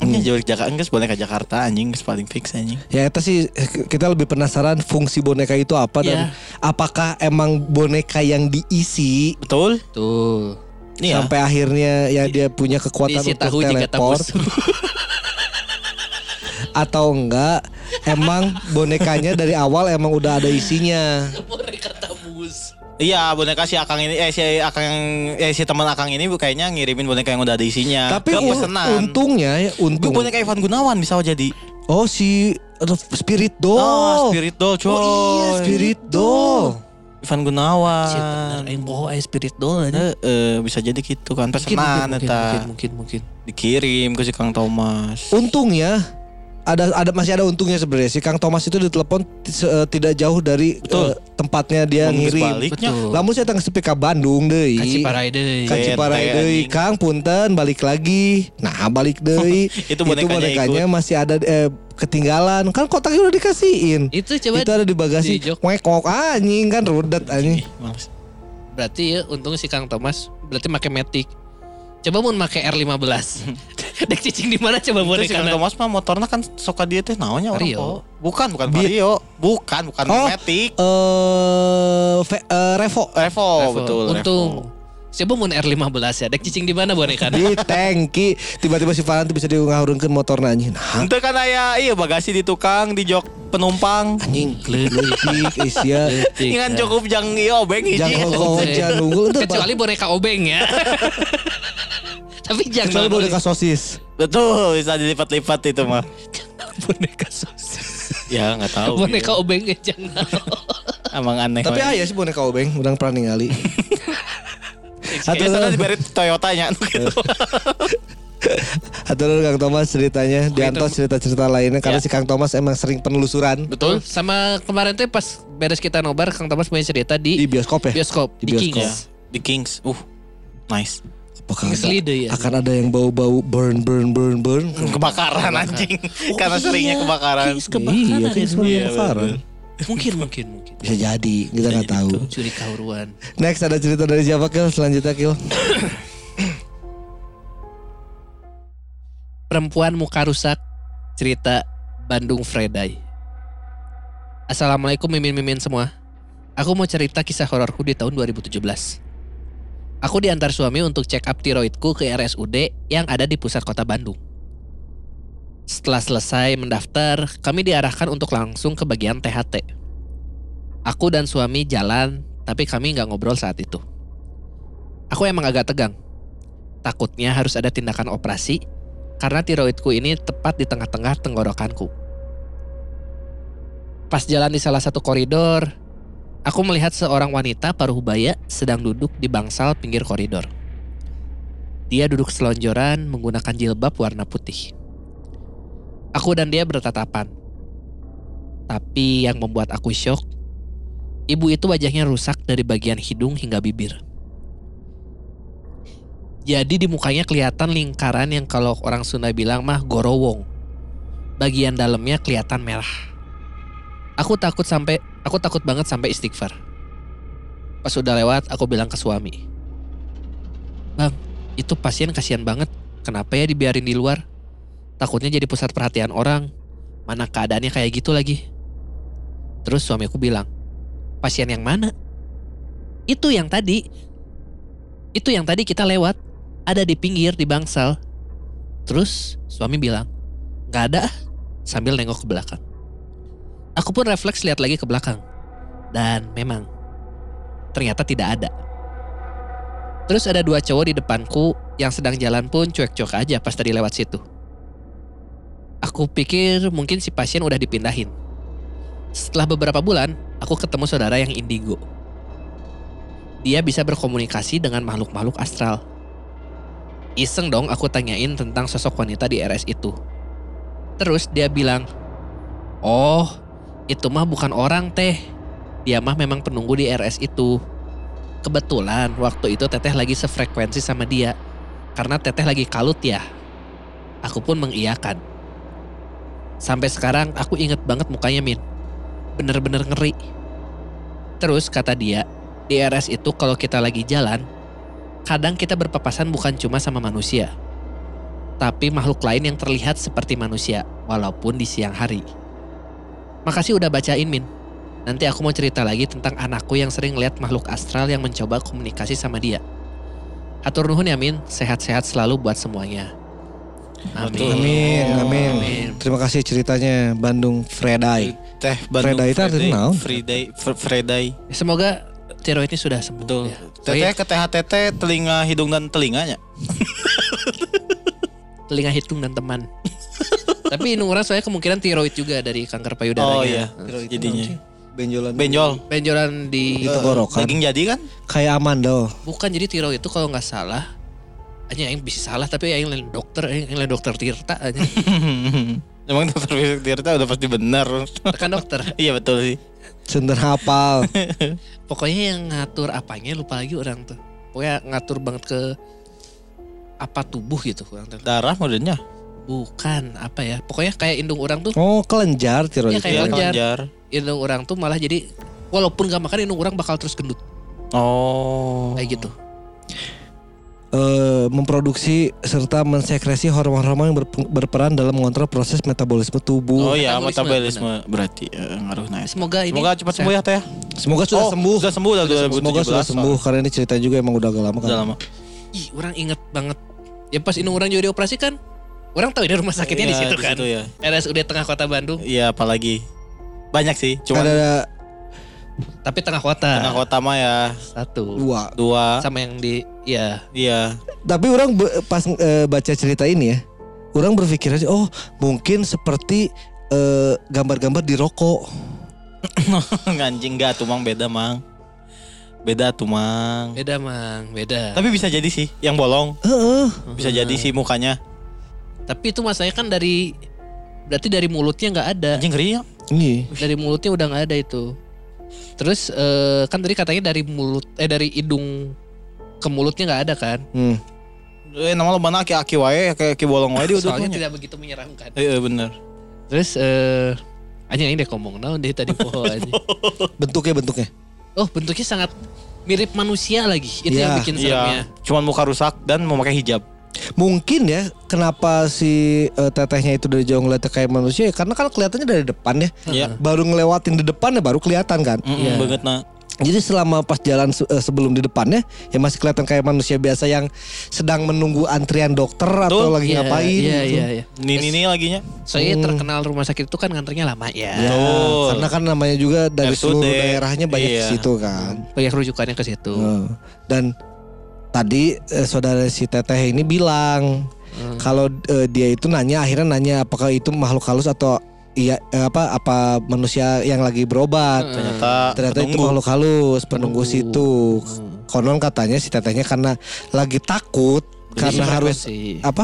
B: Ini jauh Jakarta enggak boleh ke Jakarta anjing geus paling fix anjing.
D: ya itu sih kita lebih penasaran fungsi boneka itu apa dan
A: Iya.
D: apakah emang boneka yang diisi
B: Betul?
A: Tuh
B: Iya.
D: sampai akhirnya ya dia punya kekuatan
A: Diisi
D: untuk
A: tahu jika
D: teleport
A: tabus
D: atau enggak emang bonekanya dari awal emang udah ada isinya
A: Mereka tabus
B: Iya, boneka si Akang ini eh si Akang eh si teman Akang ini kayaknya ngirimin boneka yang udah ada isinya. Ke
D: tapi un-
B: Nah, pesenan. Hmm.
D: untungnya ya
B: Itu
D: untung
B: boneka Ivan Gunawan bisa jadi.
D: oh si aduh, spirit doll
B: Oh, Spirit Doll, coy.
D: Oh iya spirit doll
B: Ivan Gunawan.
A: Shit
B: Ah.
A: bener Yang boho aja spirit doll aja
B: Eh, eh, bisa jadi gitu kan
A: Mungkin,
B: pesanan
A: mungkin, mungkin,
B: eta
A: mungkin, mungkin.
B: dikirim ke si Kang Thomas.
D: untungnya ada ada masih ada untungnya sebenarnya si Kang Thomas itu ditelepon t- se- eh, tidak jauh dari
B: Betul.
D: eh, tempatnya dia
B: Emang geus
D: ngirim.
B: baliknya.
A: Betul.
D: Lamun saya tanggung sepi ka Bandung deui.
B: Kan
A: Kasih parai deh
D: Ka Ciparai
B: Benteng,
D: deui.
B: anjing.
D: Kang punten balik lagi. Nah, balik deui.
B: Itu bonekanya
D: masih ada eh, ketinggalan. Kan kotaknya udah dikasihin.
A: Itu coba
D: itu ada di bagasi.
A: Iya, di jok.
D: Wek wek anjing kan rudet
B: Ih,
D: anjing.
B: males.
A: Berarti ya untung si Kang Thomas berarti make Matic. Coba mau make R15. Dek cicing di mana coba ya?
B: Terus si
A: boneka
B: Kang
A: na-
B: Thomas mah motornya kan suka dia teh naonnya orang
A: Vario.
B: po. Bukan, bukan
D: Beat.
B: Vario. Bukan, bukan
D: Oh.
B: Matic.
D: Eh fe- eh, Revo
B: Revo,
A: Revo.
B: Oh, betul. Revo.
A: Untung. Coba mau R15 ya. Dek cicing di mana boneka? na?
D: di tangki tiba-tiba si Varan tuh bisa diungahurunkeun motorna anjing. Nah,
B: Itu kan aya iya bagasi di tukang, di jok penumpang.
D: anjing leutik Asia.
B: Ini kan cukup jang iya obeng hiji.
D: Jangan kok
A: Iya.
D: jangan unggul itu
A: Kecuali boneka obeng ya. Tapi
D: kecuali
A: jangan
D: boneka sosis.
B: Betul, bisa dilipat-lipat itu mah.
A: boneka sosis.
B: Ya nggak tahu.
A: boneka
B: gitu.
A: obeng ya jangan.
B: Emang aneh.
D: Tapi
B: ayo
D: ayah sih boneka obeng, udah pernah ningali.
B: Atau
D: Atau-
B: sana diberi Toyota nya gitu.
D: Atau dulu Kang Thomas ceritanya, Dianto cerita-cerita lainnya karena
A: Ya.
D: si Kang Thomas emang sering penelusuran
A: Betul. Sama kemarin tuh pas beres kita nobar Kang Thomas punya cerita
D: di
A: di
D: bioskop ya.
A: bioskop
D: Di
A: di
D: bioskop.
A: Kings.
B: Ya, The Kings. Uh, nice.
D: Apakah ada-
A: Ngeselide ya.
D: akan ada yang bau-bau burn burn burn burn?
B: kebakaran anjing karena seringnya kebakaran
D: iya,
A: kebakaran
D: kan semuanya
B: Iya,
D: kebakaran.
A: mungkin mungkin mungkin
D: Bisa jadi, kita nggak tahu.
A: curi kauruan
D: Next ada cerita dari siapa Kil? Selanjutnya Kil.
A: perempuan muka rusak cerita Bandung Friday. Assalamualaikum mimin-mimin semua. Aku mau cerita kisah hororku di tahun 2017. Aku diantar suami untuk check up tiroidku ke RSUD yang ada di pusat kota Bandung. Setelah selesai mendaftar, kami diarahkan untuk langsung ke bagian THT. Aku dan suami jalan, tapi kami nggak ngobrol saat itu. Aku emang agak tegang. Takutnya harus ada tindakan operasi karena tiroidku ini tepat di tengah-tengah tenggorokanku. Pas jalan di salah satu koridor, aku melihat seorang wanita paruh baya sedang duduk di bangsal pinggir koridor. Dia duduk selonjoran menggunakan jilbab warna putih. Aku dan dia bertatapan. Tapi yang membuat aku syok, ibu itu wajahnya rusak dari bagian hidung hingga bibir. Jadi di mukanya kelihatan lingkaran yang kalau orang Sunda bilang mah gorowong. Bagian dalamnya kelihatan merah. Aku takut sampai aku takut banget sampai istighfar. Pas udah lewat aku bilang ke suami. Bang, itu pasien kasihan banget. Kenapa ya dibiarin di luar? Takutnya jadi pusat perhatian orang. Mana keadaannya kayak gitu lagi. Terus suamiku bilang, "Pasien yang mana?" Itu yang tadi, itu yang tadi kita lewat ada di pinggir di bangsal terus suami bilang nggak ada ah," sambil nengok ke belakang aku pun refleks lihat lagi ke belakang dan memang ternyata tidak ada terus ada dua cowok di depanku yang sedang jalan pun cuek-cuek aja pas tadi lewat situ aku pikir mungkin si pasien udah dipindahin setelah beberapa bulan aku ketemu saudara yang indigo dia bisa berkomunikasi dengan makhluk-makhluk astral. Iseng dong aku tanyain tentang sosok wanita di RS itu. Terus dia bilang, Oh, itu mah bukan orang teh. Dia mah memang penunggu di RS itu. Kebetulan waktu itu teteh lagi sefrekuensi sama dia. Karena teteh lagi kalut ya. Aku pun mengiyakan. Sampai sekarang aku inget banget mukanya Min. Bener-bener ngeri. Terus kata dia, di RS itu kalau kita lagi jalan, kadang kita berpapasan bukan cuma sama manusia, tapi makhluk lain yang terlihat seperti manusia, walaupun di siang hari. Makasih udah bacain, Min. Nanti aku mau cerita lagi tentang anakku yang sering lihat makhluk astral yang mencoba komunikasi sama dia. Atur nuhun ya, Min. Sehat-sehat selalu buat semuanya. Amin.
B: Betul.
D: Amin,
B: Oh,
D: amin.
A: amin.
D: Terima kasih ceritanya Bandung Fredai.
B: teh Bandung
D: Freda itu artinya naon?
B: Friday Fr- Friday
A: Semoga tiroidnya sudah sembuh.
B: betul
A: ya.
B: teteh
A: Soalnya
B: ke THTT telinga hidung dan telinganya
A: telinga hitung dan teman. Tapi ini orang soalnya kemungkinan tiroid juga dari kanker payudaranya.
B: oh iya
D: ya.
A: Hmm.
B: jadinya
D: Benjolan.
B: benjol
A: benjolan di
D: Di tenggorokan.
B: daging jadi kan
D: Kayak oh. Amandel.
A: bukan jadi tiroid itu kalau nggak salah hanya yang bisa salah tapi yang lain dokter yang lain dokter Tirta aja
B: emang dokter fisik Tirta udah pasti benar
A: kan dokter
B: iya betul sih
D: Sender hafal.
A: pokoknya yang ngatur apanya lupa lagi orang tuh pokoknya ngatur banget ke apa tubuh gitu orang tuh
B: darah modelnya
A: bukan apa ya pokoknya kayak indung orang tuh
D: Oh, kelenjar tiroid.
A: Iya, kayak
B: Iya,
A: kelenjar.
B: kelenjar.
A: indung orang tuh malah jadi walaupun gak makan indung orang bakal terus gendut
B: oh
A: kayak gitu
D: Eh, memproduksi serta mensekresi hormon-hormon yang berpe- berperan dalam mengontrol proses metabolisme tubuh.
B: oh iya
A: Metabolisme,
B: metabolisme berarti eh, ngaruh naik
A: semoga ini
B: semoga cepat sembuh ya teh
D: Semoga sudah
B: Oh,
D: sembuh.
B: sudah sembuh udah
D: Semoga
B: 2017
D: sudah sembuh karena ini cerita juga emang udah agak lama kan.
B: udah lama
A: ih orang inget banget ya pas indung orang juga dioperasi kan orang tahu ini rumah sakitnya di
B: Iya,
A: situ kan
B: ya
A: RSUD tengah kota Bandung
B: iya apalagi banyak sih cuma
D: ada, ada
A: tapi tengah kota
B: tengah kota mah ya
A: satu
D: dua.
B: dua
A: sama yang di ya
B: iya
D: Tapi orang be- pas eh, baca cerita ini ya, orang berpikir aja, oh mungkin seperti eh, gambar-gambar di rokok.
B: anjing enggak tuh mang beda mang beda tuh mang
A: beda mang beda
B: tapi bisa jadi sih yang bolong
D: Heeh.
B: bisa jadi sih mukanya
A: tapi itu masanya kan dari berarti dari mulutnya nggak ada
B: anjing ngeri ya
D: Iya.
A: dari mulutnya udah nggak ada itu terus eh, kan tadi katanya dari mulut eh dari hidung ke mulutnya nggak ada kan
D: Hmm.
B: eh nama lo mana aki-aki wae, aki-aki bolong wae di udut
A: Soalnya
B: mah.
A: tidak begitu menyeramkan.
B: Heeh bener.
A: Terus eh anjing ini deh ngomong naon deh tadi poho anjing.
D: Bentuknya bentuknya.
A: Oh, bentuknya sangat mirip manusia lagi. Itu
D: Iya,
A: yang bikin seremnya.
B: Iya, cuman muka rusak dan memakai hijab.
D: Mungkin ya kenapa si eh, tetehnya itu dari jauh ngeliatnya kayak manusia ya karena kan kelihatannya dari depan ya.
B: Iya. Mm.
D: Baru ngelewatin di depan ya baru kelihatan kan.
A: Iya.
B: Heeh, banget na.
D: Jadi selama pas jalan se- eh, sebelum di depannya ya masih kelihatan kayak manusia biasa yang sedang menunggu antrian dokter atau
B: Betul.
D: lagi
A: Iya,
D: ngapain Hmm.
A: Iya,
D: gitu.
A: iya, iya.
B: Nini nih laginya.
A: Soalnya terkenal rumah sakit itu kan nganternya lama ya.
D: Ya,
B: Betul.
D: karena kan namanya juga dari
B: RSUD.
D: seluruh daerahnya banyak
B: Iya.
D: di situ kan.
A: Banyak rujukannya ke situ.
D: Heeh. Dan tadi eh, saudara si Teteh ini bilang
A: Hmm.
D: kalau eh, dia itu nanya akhirnya nanya apakah itu makhluk halus atau iya eh, apa apa manusia yang lagi berobat.
A: Eh,
B: Ternyata
D: Ternyata itu
B: penunggu.
D: makhluk halus penunggu,
A: Penunggu.
D: situ.
A: Hmm.
D: Konon katanya si Tetehnya karena lagi takut karena harus
A: Frekuensi.
D: apa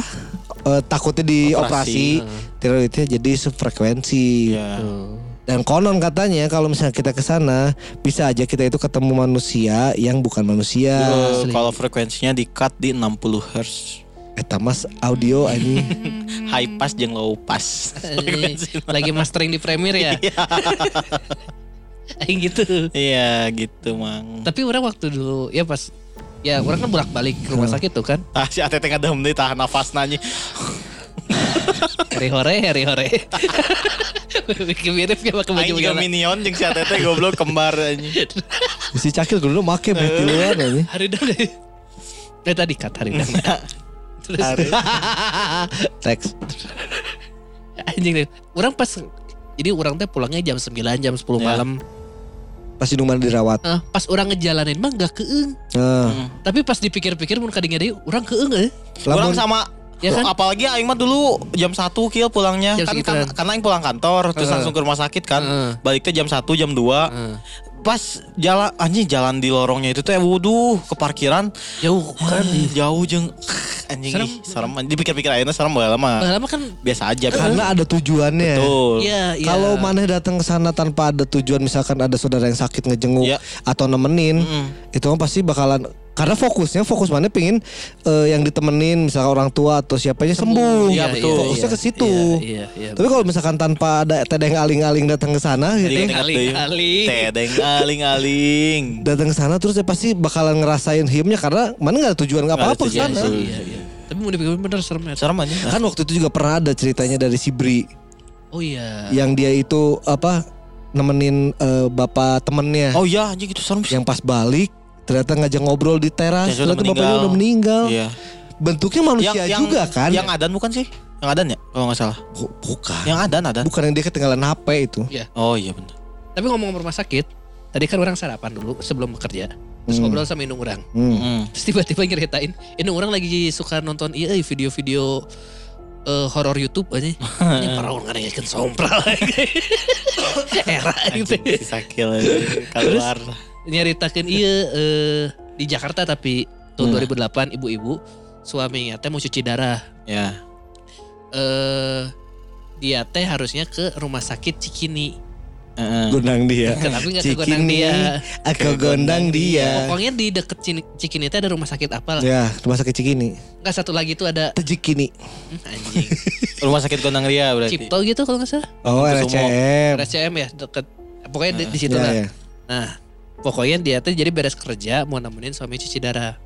D: eh, takutnya dioperasi
A: Heeh.
D: tiroidnya jadi sefrekuensi.
B: Iya.
A: Tuh.
D: Dan konon katanya kalau misalnya kita ke sana bisa aja kita itu ketemu manusia yang bukan manusia.
B: Eh,
A: Iya, Asli.
B: Kalau frekuensinya di cut di 60 Hz.
D: Eta mas Eh, audio anjing.
B: High pass jeung low pass. Frekuensi.
A: lagi mastering di Premiere ya.
D: Iya.
A: Aing gitu.
B: Iya gitu mang.
A: Tapi orang waktu dulu ya pas ya orang kan bolak-balik ke
D: Iya.
A: rumah sakit tuh kan.
B: Tah Ah, si Atete ngadem deui tahan nafas nanyi.
A: Hari hore, hari hore. Bikin mirip ya pakai baju
B: Aing juga
A: begana.
B: minion jeung si Atete goblok kembar anjing.
D: si cakil dulu make berarti luar anjing.
A: Hari dana. Eh tadi kat hari dana. Terus
D: Teks.
A: anjing deh. Orang pas jadi orang teh pulangnya jam 9 jam 10
B: Ya.
A: malam.
D: Pas di rumah dirawat.
A: Eh, pas orang ngejalanin mah gak keeng.
D: Nah,
B: Hmm.
A: Tapi pas dipikir-pikir mun kadingnya deui urang keeng eh.
B: Kurang
D: lamun
B: sama
A: Ya kan?
B: Apalagi Aing mah dulu jam 1 kill pulangnya
A: Jam
B: kan,
A: segituan.
B: kan- Karena Aing pulang kantor Terus
A: Heeh.
B: langsung ke rumah sakit kan
A: Heeh.
B: Baliknya jam 1 jam 2
A: Heeh.
B: Pas jalan Anjing jalan di lorongnya itu tuh eh, Wuduh ke parkiran
D: Ya, uh,
A: Jauh kan.
B: Ih, Jauh jeng Anjing
A: Serem.
B: serem. serem anjing. Dipikir-pikir akhirnya serem gak lama
A: Lama kan
B: Biasa aja
D: karena ada tujuannya.
B: Betul
A: Iya, iya.
D: Kalau maneh datang ke sana tanpa ada tujuan misalkan ada saudara yang sakit ngejenguk
B: Iya.
D: atau nemenin,
B: Mm.
D: itu mah pasti bakalan karena fokusnya fokus maneh pingin eh, yang ditemenin misalkan orang tua atau siapanya sembuh.
B: Iya,
D: ya, Gitu.
B: betul.
D: Fokusnya ke situ.
A: Iya, iya.
D: Tapi kalau misalkan tanpa ada tedeng aling-aling datang ke sana gitu,
B: Jadi ingat deh.
A: Aling-aling.
B: Tedeng aling-aling
D: datang ke sana terus ya pasti bakalan ngerasain hiemnya karena mana nggak ada tujuan nggak
B: Nggak ada
D: apa-apa ke
B: tujuan,
D: sana.
B: betul.
A: Iya, iya. Tapi mau dipikir bener serem ya.
B: Serem anjing
D: Kan waktu itu juga pernah ada ceritanya dari si Bri
A: Oh
B: Nah.
A: iya.
D: yang dia itu apa nemenin eh, bapak temennya
B: Oh iya anjing itu serem
D: yang pas balik ternyata ngajak ngobrol di teras
B: Ternyata udah
D: ternyata bapaknya
B: meninggal.
D: udah meninggal.
B: Iya
D: Bentuknya manusia juga kan?
B: Yang adan bukan sih? Yang adan ya? Kalau nggak salah.
A: Oh,
D: Bu- bukan.
B: Yang adan adan.
D: Bukan yang dia ketinggalan HP itu.
B: Oh iya benar.
A: Tapi ngomong rumah sakit, tadi kan orang sarapan dulu sebelum bekerja. Terus
D: Hmm.
A: ngobrol sama indung orang.
D: Hmm.
B: Mm.
A: Terus tiba-tiba nyeritain, indung orang lagi suka nonton iya eh, video-video eh, horor YouTube aja. Ini para orang ngadengerin sompral lagi. Era gitu.
B: Anjing, si Sakil eh, keluar.
A: Nyeritakan iya eh, di Jakarta tapi tahun 2008 ibu-ibu suaminya teh mau cuci darah.
B: Ya.
A: Eh dia teh harusnya ke rumah sakit Cikini.
B: Heeh.
D: Gondang dia.
A: Tapi nggak
D: Cikini, Iya.
A: kegondang dia.
D: Aku gondang dia.
A: Pokoknya di deket Cini- Cikini teh ada rumah sakit apa?
D: Ya, rumah sakit Cikini.
A: Enggak satu lagi itu ada
D: Tejikini.
A: hmm, anjing
B: Rumah sakit Gondang Ria berarti.
A: Cipto gitu kalau nggak salah.
D: Oh,
B: Kusumo.
D: RCM.
A: RSCM ya deket. Pokoknya di, di situ
D: Ya,
A: lah.
D: ya.
A: Nah, pokoknya dia tuh jadi beres kerja mau nemenin suami cuci darah.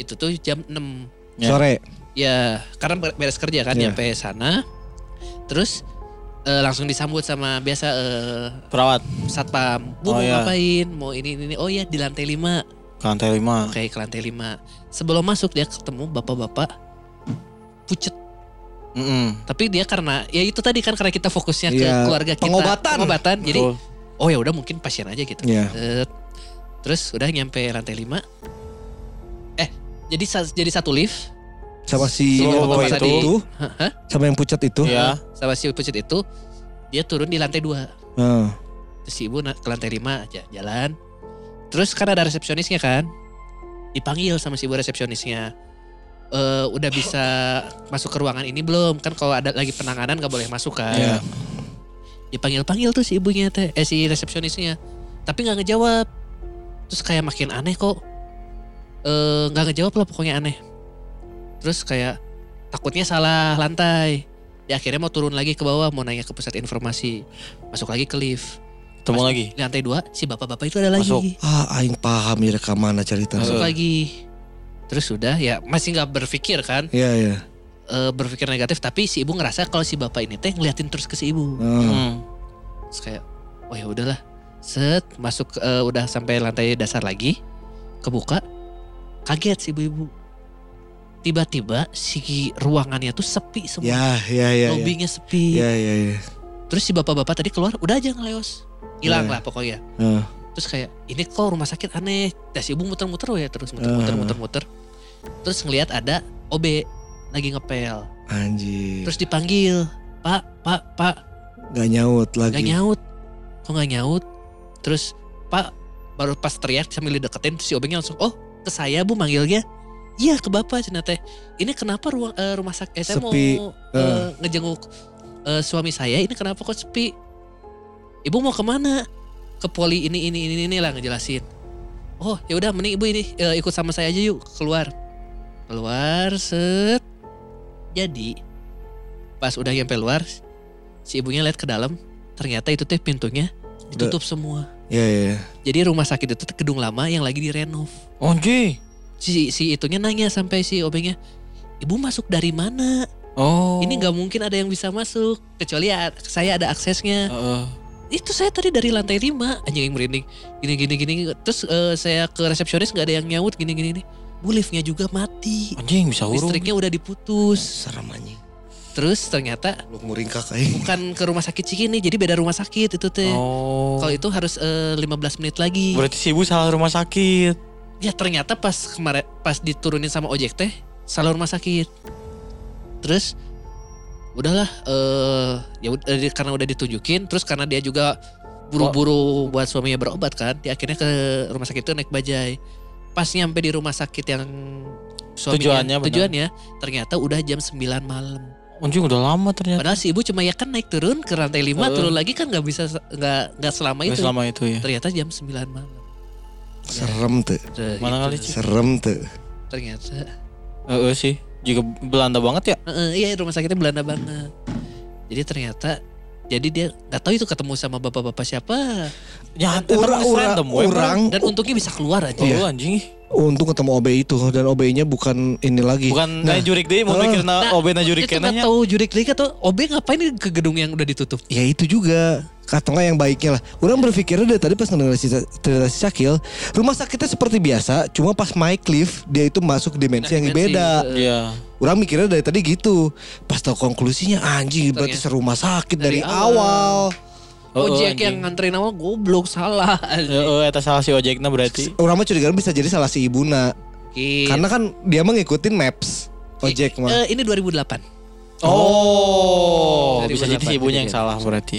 A: Itu tuh jam 6.
B: Ya.
D: Sore.
A: Ya, karena ber- beres kerja kan
D: Ya.
A: nyampe sana. Terus eh, langsung disambut sama biasa eh,
B: Perawat.
A: satpam. Bu
B: Oh,
A: mau
B: ya.
A: ngapain? Mau ini ini ini. Oh ya di lantai 5.
B: Ke lantai lima.
A: Oke, ke lantai 5. Sebelum masuk dia ketemu bapak-bapak pucet.
B: Mm-mm.
A: Tapi dia karena ya itu tadi kan karena kita fokusnya ke
D: Iya,
A: keluarga kita.
D: pengobatan.
A: Pengobatan. Jadi
B: Betul.
A: oh ya udah mungkin pasien aja gitu.
D: Iya.
A: Eh, Terus udah nyampe lantai 5. Eh, jadi sa- jadi satu lift
D: Sama si
A: Sama
D: bapak
A: bapak
D: itu,
A: tadi.
D: itu,
A: Hah, hah? Ya.
D: sama yang pucat itu.
B: Iya.
A: sama si pucet itu dia turun di lantai 2.
D: Heeh.
A: Terus si ibu na- ke lantai 5 aja jalan. Terus kan ada resepsionisnya kan. Dipanggil sama si ibu resepsionisnya. Eh udah bisa masuk ke ruangan ini belum? Kan kalau ada lagi penanganan nggak boleh masuk kan.
B: Iya.
A: Dipanggil-panggil tuh si ibunya teh, eh si resepsionisnya. Tapi nggak ngejawab. Terus kayak makin aneh kok. Eh nggak ngejawab lah pokoknya aneh. terus kayak takutnya salah lantai ya akhirnya mau turun lagi ke bawah mau nanya ke pusat informasi masuk lagi ke lift
B: Temu lagi.
A: di lantai dua si bapak-bapak itu ada lagi
B: Masuk.
D: Ah, aing paham ya ke mana cerita.
A: masuk
B: Eh.
A: lagi terus sudah ya masih nggak berpikir kan
D: Iya, iya.
A: eh, berpikir negatif tapi si ibu ngerasa kalau si bapak ini teh ngeliatin terus ke si ibu
D: Ah,
B: Hmm.
A: terus kayak oh ya udahlah set masuk eh, udah sampai lantai dasar lagi kebuka kaget si ibu-ibu tiba-tiba si ruangannya tuh sepi semua
D: Ya, ya, ya. ya.
A: lobbynya sepi
D: Ya, ya, ya.
A: terus si bapak-bapak tadi keluar udah aja ngeleos hilang
D: Ya.
A: lah pokoknya
D: Ah,
A: terus kayak ini kok rumah sakit aneh dan si ibu muter-muter ya terus
D: Ah.
A: muter-muter muter-muter terus ngelihat ada OB lagi ngepel
D: Iya. anjir.
A: terus dipanggil pak pak pak
D: Gak nyaut
A: nggak
D: lagi.
A: nyaut kok nggak nyaut terus pak baru pas teriak sambil dideketin si obengnya langsung oh ke saya bu manggilnya iya ke bapak cina teh ini kenapa ruang eh, rumah sakit eh, saya mau
D: Sepi.
A: eh, ngejenguk eh, suami saya ini kenapa kok sepi ibu mau kemana ke poli ini ini ini ini lah ngejelasin oh ya udah mending ibu ini eh, ikut sama saya aja yuk keluar keluar set jadi pas udah nyampe luar si ibunya lihat ke dalam ternyata itu teh pintunya ditutup semua
D: Ya, ya, ya.
A: jadi rumah sakit itu teh gedung lama yang lagi direnov
B: Oke.
A: si si itunya nanya sampai si obengnya ibu masuk dari mana
B: Oh.
A: ini nggak mungkin ada yang bisa masuk kecuali ya saya ada aksesnya
B: Heeh.
A: itu saya tadi dari lantai 5 anjing yang merinding gini gini gini terus eh, saya ke resepsionis nggak ada yang nyaut gini gini nih bu liftnya juga mati
B: Anjing bisa urung.
A: listriknya udah diputus
D: Serem anjing.
A: terus ternyata
D: Lu muringkak aing.
A: bukan ke rumah sakit Cikini jadi beda rumah sakit itu teh
B: Oh.
A: kalau itu harus eh, 15 menit lagi
B: Berarti si ibu salah rumah sakit.
A: Ya ternyata pas kemarin pas diturunin sama ojek teh salah rumah sakit. Terus udahlah eh ya ud- eh, karena udah ditunjukin terus karena dia juga buru-buru buat suaminya berobat kan, dia akhirnya ke rumah sakit itu naik bajai. Pas nyampe di rumah sakit yang suaminya
B: Tujuannya benar.
A: tujuannya ternyata udah jam 9 malam.
B: Anjing udah lama ternyata.
A: Padahal si ibu cuma ya kan naik turun ke lantai 5
B: Heeh.
A: turun lagi kan nggak bisa nggak nggak selama
B: Udah
A: itu.
B: selama itu ya.
A: Ternyata jam 9 malam.
D: Serem tuh.
A: Tuh,
B: Mana kali
A: itu.
B: sih?
D: Serem tuh.
A: Ternyata
B: Heeh sih. Juga Belanda banget ya.
A: Heeh, iya rumah sakitnya Belanda banget. Jadi ternyata jadi dia nggak tahu itu ketemu sama bapak-bapak siapa
B: Ya,
D: Orang, orang, orang
A: dan untungnya bisa keluar aja. Nah,
B: Oh, anjing. ih.
D: untung ketemu OB itu dan OB-nya bukan ini lagi.
B: Bukan nah, jurik deh, mau
D: Heeh.
B: mikir na Ah, obe na jurik
A: Nah, itu nggak
B: kenanya.
A: tahu jurik lagi atau OB ngapain ke gedung yang udah ditutup?
D: Ya itu juga Atau nggak yang baiknya lah Orang berpikirnya dari tadi pas ngedengar si- cerita si Syakil Rumah sakitnya seperti biasa Cuma pas Mike Cliff Dia itu masuk dimensi yang
A: Dimensi,
D: beda
A: eh,
B: Iya.
D: Orang mikirnya dari tadi gitu Pas tahu konklusinya Anjing
A: Ternyata-
D: berarti serumah sakit dari,
A: ya. dari
D: awal,
B: Heeh,
A: ojek
B: Oh, anjing.
A: yang nganterin awal goblok salah.
B: Heeh, eta salah si ojekna berarti.
D: Orang mah curigaan bisa jadi salah si ibuna
A: Gitu.
D: Karena kan dia mah ngikutin maps
A: Eh,
D: Ojek mah
A: eh, ini 2008.
B: Oh,
A: Dari
B: bisa jadi
A: berapa
B: si ibunya
A: jadi
B: yang
A: dia?
B: salah berarti.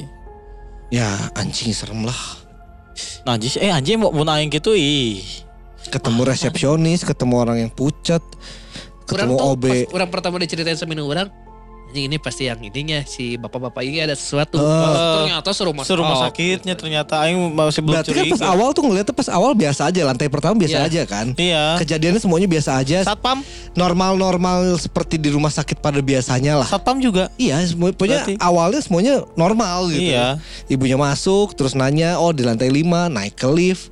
D: Ya anjing serem lah
B: Nah, jis, eh anjing mau mau aing gitu ih.
D: Ketemu resepsionis Ketemu orang yang pucat Ketemu
A: tuh
D: OB
A: pas orang pertama diceritain sama ini orang anjing ini pasti yang ininya si bapak-bapak ini ada sesuatu.
D: Eh.
A: ternyata serumah,
B: Se rumah
A: oh,
B: sakitnya ternyata aing masih belum
D: Berarti kan pas
B: curiga.
D: awal tuh ngeliatnya pas awal biasa aja lantai pertama biasa
A: Iya.
D: aja kan.
B: Iya.
D: Kejadiannya semuanya biasa aja.
B: Satpam,
D: Normal-normal seperti di rumah sakit pada biasanya lah.
B: satpam juga.
D: Iya, semuanya pokoknya
B: Berarti-
D: awalnya semuanya normal gitu.
B: Iya.
D: Ibunya masuk terus nanya, "Oh, di lantai 5 naik ke lift."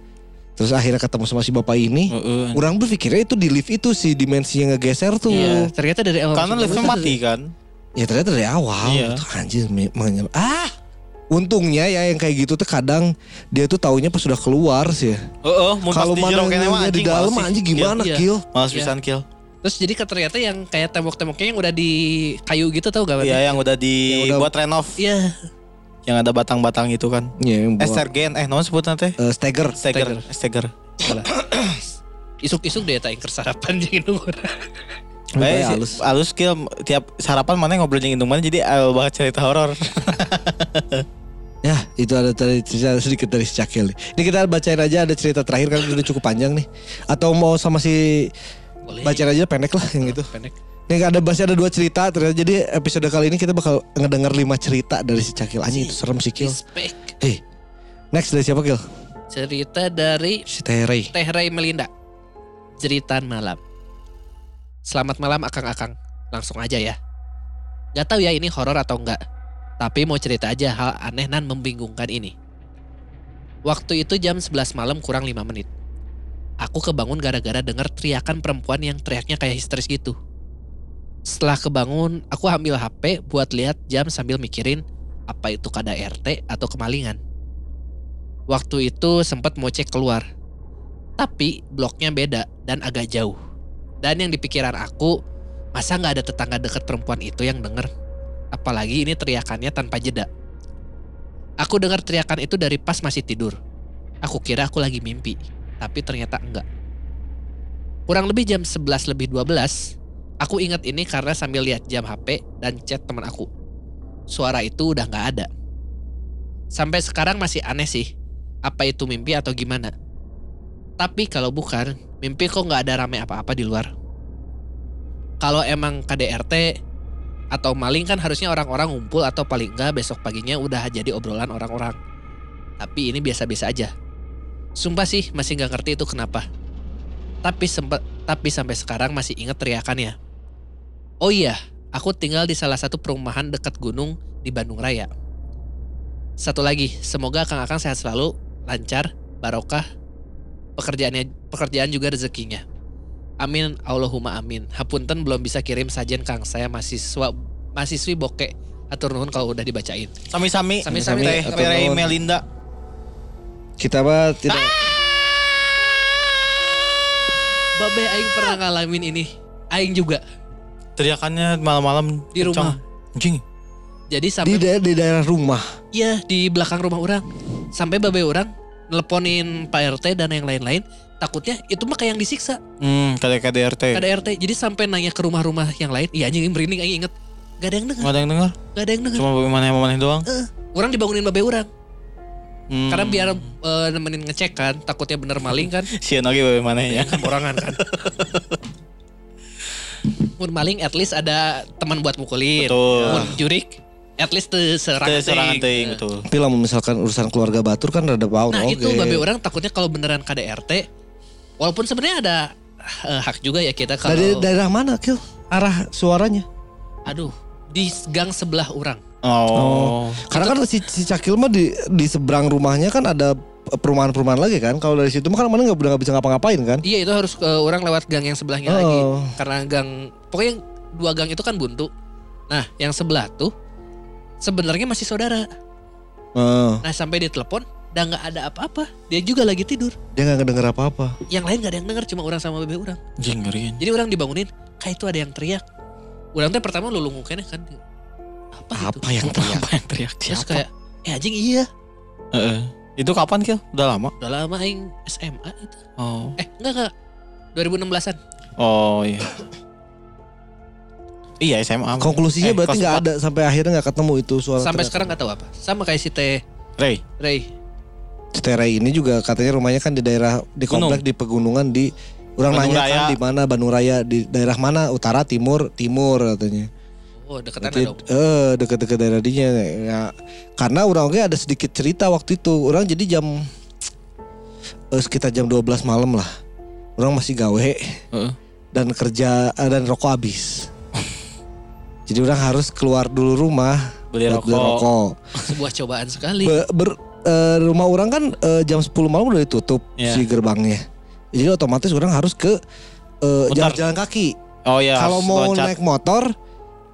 D: Terus akhirnya ketemu sama si bapak ini.
B: Heeh.
D: Orang berpikirnya itu di lift itu si dimensi yang ngegeser tuh.
A: Iya, ternyata dari
D: Oh,
A: awal
B: Karena
A: sampai
B: liftnya
A: awal.
B: mati kan.
D: Ya ternyata dari awal
B: Iya.
D: gitu. anjir me- menye- Ah. Untungnya ya yang kayak gitu tuh kadang dia tuh taunya pas sudah keluar sih ya.
B: Heeh, mun pas
D: Kalau
B: di jero kene mah
D: mana di
B: anjing.
D: dalam
B: males sih.
D: anjing gimana,
A: Iya.
D: Gil?
B: Iya, Males
A: Iya.
B: pisan kill.
A: Terus jadi ke- ternyata yang kayak tembok-temboknya yang udah di kayu gitu tau gak? Bang?
B: Iya, yang udah
D: Yang udah-
B: dibuat renov,
A: Iya.
B: yang ada batang-batang itu kan.
D: Iya, yang
B: Eh,
D: buat-
B: Sergen, eh naon sebutna teh?
D: eh, Stagger.
B: Steger, Steger.
A: Salah. Isuk-isuk deh tak kersarapan jadi indung orang.
B: Eh,
D: Kayak
B: si-
D: halus.
B: halus. kill tiap sarapan mana ngobrol jeung indung mana jadi eh, banget cerita horor.
D: Ya, itu ada tadi cerita sedikit dari si Cakil. nih. Ini kita bacain aja ada cerita terakhir kan udah cukup panjang nih. Atau mau sama si
A: Boleh.
D: bacain aja pendek lah yang itu.
A: Pendek.
D: Nih ada masih ada dua cerita ternyata. Jadi episode kali ini kita bakal ngedengar lima cerita dari si Cakil. Anjing itu serem si Kil.
A: Respect.
D: Hei. Next dari siapa Kil?
A: Cerita dari
D: Si Terry.
A: Teh Ray Melinda. Cerita malam. Selamat malam akang-akang. Langsung aja ya. Gak tahu ya ini horor atau enggak. Tapi mau cerita aja hal aneh dan membingungkan ini. Waktu itu jam 11 malam kurang 5 menit. Aku kebangun gara-gara dengar teriakan perempuan yang teriaknya kayak histeris gitu. Setelah kebangun, aku ambil HP buat lihat jam sambil mikirin apa itu kada RT atau kemalingan. Waktu itu sempat mau cek keluar. Tapi bloknya beda dan agak jauh. Dan yang di pikiran aku, masa nggak ada tetangga dekat perempuan itu yang denger? Apalagi ini teriakannya tanpa jeda. Aku dengar teriakan itu dari pas masih tidur. Aku kira aku lagi mimpi, tapi ternyata enggak. Kurang lebih jam 11 lebih 12, aku ingat ini karena sambil lihat jam HP dan chat teman aku. Suara itu udah nggak ada. Sampai sekarang masih aneh sih. Apa itu mimpi atau gimana? Tapi kalau bukan, mimpi kok nggak ada rame apa-apa di luar. Kalau emang KDRT atau maling kan harusnya orang-orang ngumpul atau paling nggak besok paginya udah jadi obrolan orang-orang. Tapi ini biasa-biasa aja. Sumpah sih masih nggak ngerti itu kenapa. Tapi sempat tapi sampai sekarang masih inget teriakannya. Oh iya, aku tinggal di salah satu perumahan dekat gunung di Bandung Raya. Satu lagi, semoga Kang Akang sehat selalu, lancar, barokah, pekerjaannya pekerjaan juga rezekinya. Amin, Allahumma amin. Hapunten belum bisa kirim sajen Kang, saya mahasiswa mahasiswi bokek. Atur nuhun kalau udah dibacain.
B: Sami-sami.
A: Sami-sami.
B: Teh
D: Atau
B: Mary
D: naon.
B: Melinda.
D: Kita mah tidak
A: Babe aing pernah ngalamin ini. Aing juga
B: Teriakannya malam-malam
A: Di rumah.
B: kencang. Anjing.
A: jadi
D: di,
A: sampai
D: daer- di daerah rumah.
A: Iya di belakang rumah orang sampai babe orang nelponin Pak RT dan yang lain-lain takutnya itu mah kayak yang disiksa
B: Hmm, kayak KDRT.
A: ada RT jadi sampai nanya ke rumah-rumah yang lain iya anjing merinding aing inget gak ada yang dengar
B: Enggak ada yang dengar.
A: gak ada yang dengar
B: Cuma bagaimana-mana doang.
A: orang dibangunin babe orang
B: Hmm.
A: karena biar eh, nemenin ngecek kan takutnya bener maling kan
B: Sian oge bagaimana ya.
A: orangan kan mun maling at least ada teman buat mukulin
B: Betul.
A: mun jurik at least teu serangan
B: Teh serangan
A: teuing.
B: teuing betul.
D: Tapi lah misalkan urusan keluarga Batur kan rada bau
A: Nah itu babe orang takutnya kalau beneran KDRT, walaupun sebenarnya ada eh, hak juga ya kita kalau,
D: Dari daerah mana, Kil? Arah suaranya.
A: aduh di gang sebelah orang.
B: Oh.
D: Karena kan si, si Cakil mah di, di seberang rumahnya kan ada perumahan-perumahan lagi kan. Kalau dari situ mah kan mana nggak udah nggak bisa ngapa-ngapain kan.
A: Iya itu harus eh, orang lewat gang yang sebelahnya lagi
D: Oh.
A: karena gang pokoknya dua gang itu kan buntu. Nah yang sebelah tuh sebenarnya masih saudara.
D: Heeh.
A: Nah sampai ditelepon dan nggak ada apa-apa. Dia juga lagi tidur.
D: dia nggak ngedenger apa-apa.
A: Yang lain nggak ada yang dengar cuma orang sama bebe orang.
B: Anjing ngeriin.
A: Jadi orang dibangunin kayak itu ada yang teriak. Orang tuh pertama lulung mukanya kan. Apa,
D: Apa
A: itu?
D: yang teriak?
B: Apa yang teriak
A: Terus
B: siapa?
A: kayak eh anjing iya
B: Heeh. Itu kapan Kil? Udah lama.
A: Udah lama aing SMA itu.
B: Oh.
A: Eh, enggak enggak. 2016-an.
B: Oh iya. iya SMA.
D: Konklusinya
B: Eh,
D: berarti
B: kelas
D: nggak
B: empat.
D: ada sampai akhirnya nggak ketemu itu suara.
A: Sampai
D: teriak.
A: sekarang nggak tahu apa. Sama kayak si Teh
B: Rey.
A: Ray.
D: Si Tere ini juga katanya rumahnya kan di daerah di
B: Gunung.
D: komplek di pegunungan di orang
B: Bandung
D: nanya
B: Raya.
D: kan di mana Bandung Raya di daerah mana utara timur timur katanya.
A: Oh, deketan
D: Berarti,
A: dong.
D: eh deket-deket daerah dinya ya. Karena orang orangnya ada sedikit cerita waktu itu. Orang jadi jam eh, sekitar jam 12 malam lah. Orang masih gawe
B: Heeh.
D: dan kerja eh, dan rokok habis. jadi orang harus keluar dulu rumah
B: Beli
D: buat beli
B: rokok.
D: rokok.
A: Sebuah cobaan sekali.
D: Be- ber- eh, rumah orang kan eh, jam 10 malam udah ditutup
B: Iya.
D: si gerbangnya. Jadi otomatis orang harus ke eh,
B: Muter.
D: jalan-jalan kaki.
B: Oh iya.
D: Kalau
B: harus
D: mau
B: loncat.
D: naik motor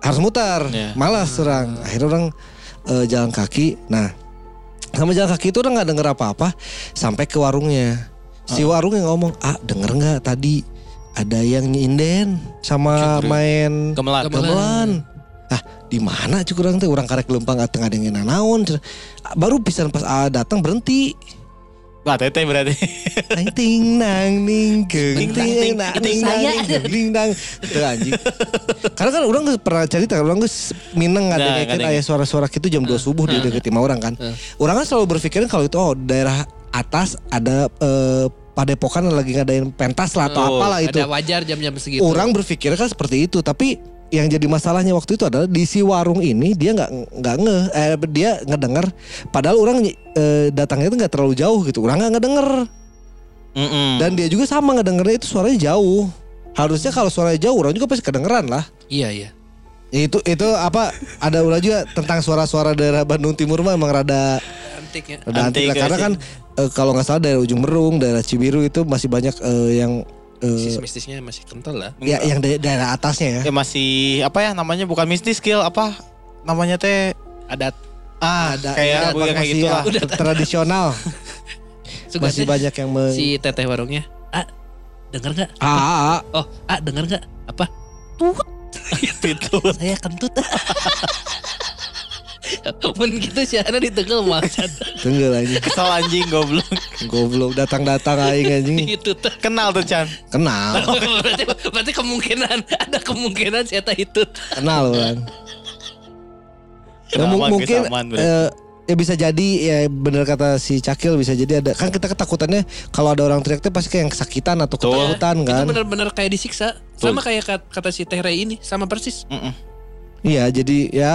D: harus muter.
B: Iya.
D: Malas orang. Akhirnya orang eh, jalan kaki. Nah, sama jalan kaki itu orang nggak denger apa-apa sampai ke warungnya. Si warung yang ngomong, "Ah, denger nggak tadi ada yang nyinden sama
B: Syukur.
D: main
B: Gemelan.
A: Gemelan.
D: Gamelan. Ah, di mana cik urang teh urang karek lempang ateng ada yang naon. cenah. Baru pisan pas ah, datang berhenti.
B: Lah teteh berarti.
D: Nang ting nang ning geng ting nang ting nang ning geng ting nang. Teu anjing. Karena kan urang geus pernah cerita urang geus mineng
B: Nah,
D: ngadengkeun
B: ngadengkeun.
D: aya suara-suara gitu jam 2 subuh di deket imah urang kan. Urang kan selalu berpikiran kalau itu oh daerah atas ada eh, padepokan lagi ngadain pentas lah atau
B: Oh,
D: apalah itu.
A: Ada gitu. wajar jam-jam segitu.
D: Orang berpikir kan seperti itu, tapi yang jadi masalahnya waktu itu adalah di si warung ini dia nggak nggak nge, eh, dia ngedenger. Padahal orang eh, datangnya itu nggak terlalu jauh gitu, orang nggak ngedenger.
B: Mm-mm.
D: Dan dia juga sama ngedengernya itu suaranya jauh. harusnya kalau suaranya jauh orang juga pasti kedengeran lah
A: Iya iya.
D: Ya, itu itu apa ada ulah juga tentang suara-suara daerah Bandung Timur mah emang rada
A: Antik ya.
D: rada
B: Antik,
D: antik lah. karena
B: antik.
D: kan eh, kalau nggak salah daerah ujung Merung daerah Cibiru itu masih banyak eh, yang eh,
A: Sis mistisnya masih kental lah.
D: ya yang da- daerah atasnya
B: Ya
D: ya
B: masih apa ya namanya bukan mistis skill apa namanya teh
A: Adat.
B: ah
D: ada
B: kayak
D: ada
B: budaya kayak
D: masih ya.
B: gitulah. ya.
D: tra- tradisional
A: Suka sih
D: masih banyak yang me-
A: si teteh warungnya. Ah, denger nggak?
D: Ah, ah, ah.
A: Oh, ah denger nggak? Apa?
B: Gitu.
A: Saya kentut. Mun gitu sih ada ditegel macan.
D: Tenggel aja
B: Kesel anjing goblok.
D: Goblok datang-datang aing anjing
A: Itu
B: Gitu.
A: tuh.
B: Kenal tuh Chan.
D: Kenal
A: berarti, berarti kemungkinan ada kemungkinan si Eta itu.
D: Kenal orang Ya,
B: Kenalan,
D: mu- mungkin
B: kesamaan, berarti.
D: eh, ya bisa jadi ya bener kata si Cakil bisa jadi ada kan kita ketakutannya kalau ada orang teriak tuh pasti kayak yang kesakitan atau
B: Betul.
D: ketakutan
A: Itu
D: kan.
A: benar-benar kayak disiksa. Sama kayak kat- kata si Teh Ray ini, sama persis.
B: Mm-mm.
D: Iya jadi ya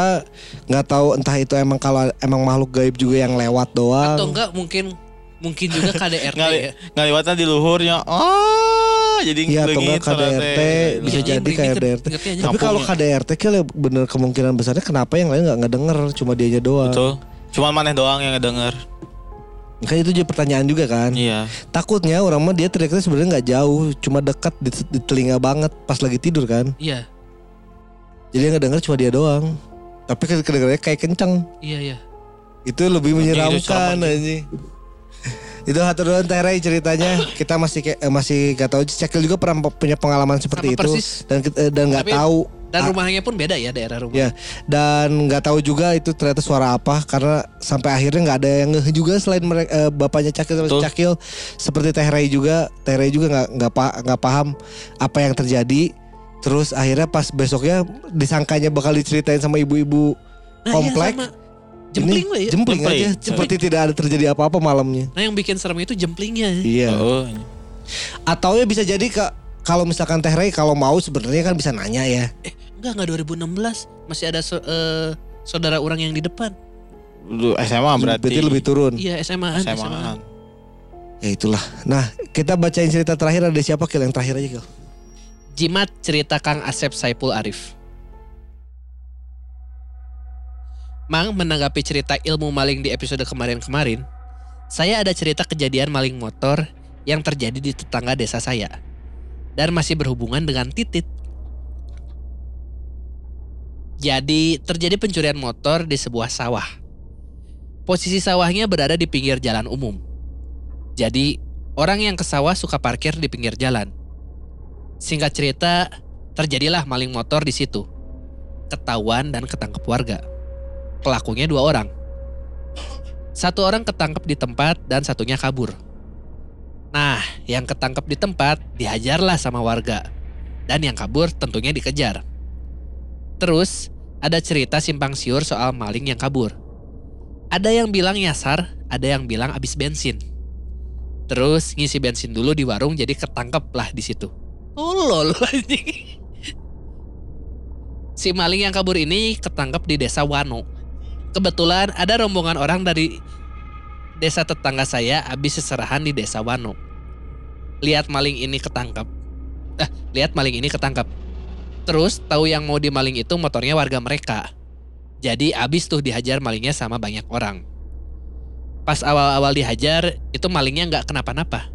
D: nggak tahu entah itu emang kalau emang makhluk gaib juga yang lewat doang.
A: Atau enggak mungkin mungkin juga KDRT
B: Ngali
A: ya.
B: ngaliwatnya di luhurnya. Oh, jadi
D: Iya atau enggak
B: ngelengit salah
D: KDRT
B: teh.
D: bisa
A: Iya,
D: jadi
A: iya,
D: KDRT.
A: ngerti aja.
D: Tapi kalau KDRT kayaknya kan ya bener kemungkinan besarnya kenapa yang lain nggak ngedenger cuma dianya doang.
B: Betul. Cuman maneh doang yang ngedenger.
D: Kan itu jadi pertanyaan juga kan.
B: Iya.
D: Takutnya orang mah dia teriaknya sebenarnya nggak jauh cuma dekat di, di telinga banget pas lagi tidur kan.
A: Iya,
D: Jadi yang ngedenger cuma dia doang. Tapi kedengarannya kayak kenceng.
A: iya, iya.
D: Itu lebih
B: Anjing, itu
D: menyeramkan
B: serem,
D: anjing. itu hatur nuhun Teh Rai ceritanya. Kita masih kayak- eh, masih gak tahu Cekil juga pernah punya pengalaman seperti
A: Sama
D: itu
A: persis.
D: dan kita- eh, dan nggak
A: Tapi-
D: tahu
A: Dan
D: Ah.
A: rumahnya pun beda ya daerah rumah.
D: ya dan nggak tahu juga itu ternyata suara apa karena sampai akhirnya nggak ada yang ngeh juga selain mereka eh, bapaknya Cakil sama si
B: Betul.
D: Cakil seperti Teh Rai juga Teh Rai juga nggak nggak pa- nggak paham apa yang terjadi terus akhirnya pas besoknya disangkanya bakal diceritain sama ibu-ibu
A: Nah, iya,
D: komplek
A: sama. Jempling
D: Ini
A: lah ya.
D: jempling
B: Jempling.
D: aja seperti tidak ada terjadi apa-apa malamnya
A: Nah yang bikin serem itu jemplingnya.
D: iya
B: Oh.
D: atau ya bisa jadi ke kalau misalkan Teh Rai kalau mau sebenarnya kan bisa nanya ya
A: Eh enggak enggak 2016 masih ada so- eh, saudara orang yang di depan.
B: Lu SMA Ah, berarti.
D: berarti lebih turun
A: Iya SMA-an.
B: SMA.
A: SMA-an.
D: ya itulah nah kita bacain cerita terakhir ada siapa Kil yang terakhir aja Kil
A: Jimat cerita Kang Asep Saipul Arif. Mang menanggapi cerita ilmu maling di episode kemarin-kemarin, saya ada cerita kejadian maling motor yang terjadi di tetangga desa saya dan masih berhubungan dengan titit. Jadi terjadi pencurian motor di sebuah sawah. Posisi sawahnya berada di pinggir jalan umum. Jadi orang yang ke sawah suka parkir di pinggir jalan. Singkat cerita, terjadilah maling motor di situ. Ketahuan dan ketangkep warga. Pelakunya dua orang. Satu orang ketangkep di tempat dan satunya kabur. Nah, yang ketangkep di tempat dihajarlah sama warga. Dan yang kabur tentunya dikejar. Terus, ada cerita simpang siur soal maling yang kabur. Ada yang bilang nyasar, ada yang bilang abis bensin. Terus ngisi bensin dulu di warung jadi ketangkep lah di situ. Tolol anjing. Si maling yang kabur ini ketangkep di desa Wano. Kebetulan ada rombongan orang dari desa tetangga saya habis seserahan di desa Wano. Lihat maling ini ketangkep. Eh, lihat maling ini ketangkep. Terus tahu yang mau dimaling itu motornya warga mereka. Jadi abis tuh dihajar malingnya sama banyak orang. Pas awal-awal dihajar, itu malingnya nggak kenapa-napa.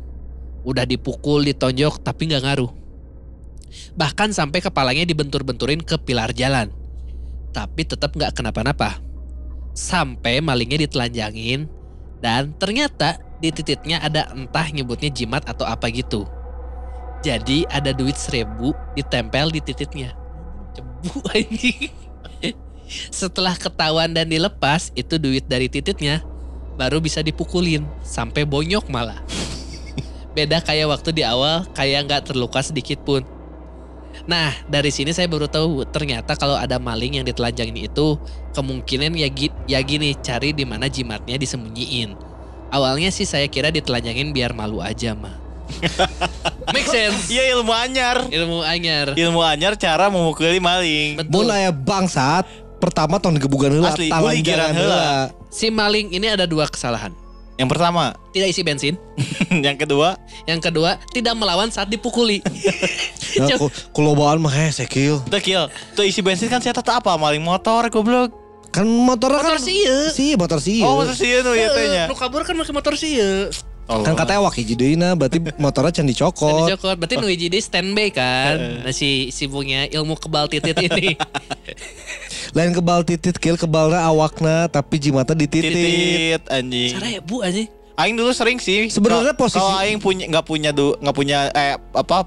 A: Udah dipukul, ditonjok, tapi nggak ngaruh. Bahkan sampai kepalanya dibentur-benturin ke pilar jalan. Tapi tetap nggak kenapa-napa. Sampai malingnya ditelanjangin dan ternyata di titiknya ada entah nyebutnya jimat atau apa gitu. Jadi ada duit seribu ditempel di titiknya. Cebu anjing. Setelah ketahuan dan dilepas, itu duit dari titiknya baru bisa dipukulin sampai bonyok malah. Beda kayak waktu di awal, kayak nggak terluka sedikit pun. Nah, dari sini saya baru tahu ternyata kalau ada maling yang ditelanjangin itu kemungkinan ya, gi- ya gini cari di mana jimatnya disembunyiin. Awalnya sih saya kira ditelanjangin biar malu aja mah. Make sense.
B: Iya ilmu anyar.
A: Ilmu anyar.
B: Ilmu anyar cara memukuli maling.
D: Mun
A: Betul.
D: aya bangsat ya, pertama tahun digebugan heula
B: Asli,
D: talanjangan
B: guligiran heula.
A: Si maling ini ada dua kesalahan.
B: Yang pertama,
A: tidak isi bensin.
B: yang kedua,
A: Yang kedua, tidak melawan saat dipukuli.
D: Ya,
B: Nah,
D: ku- kulobaan mah heh sekil.
B: itu kill. Itu isi bensin kan saya tata apa? Maling motor, goblok.
D: Kan motor
A: Motor
D: kan
A: sieu.
D: Si motor si.
B: Oh, motor sih itu ya tanya.
A: Eh, Nu kabur kan pakai motor sieu.
D: kan
B: Oh.
D: katanya awak hiji deuna berarti motornya can
A: Jadi
D: dicokot.
A: Joko, berarti nu hiji deui standby
B: Eh.
A: kan. Nah, si si punya ilmu kebal titit ini.
D: Lain kebal titit kill kebalna awakna tapi jimata dititit.
B: titit anjing.
A: Cara ya Bu aja.
B: Aing dulu sering sih.
D: Sebenarnya
B: Kalau-
D: posisi-
B: kalau aing punya nggak punya du nggak punya eh apa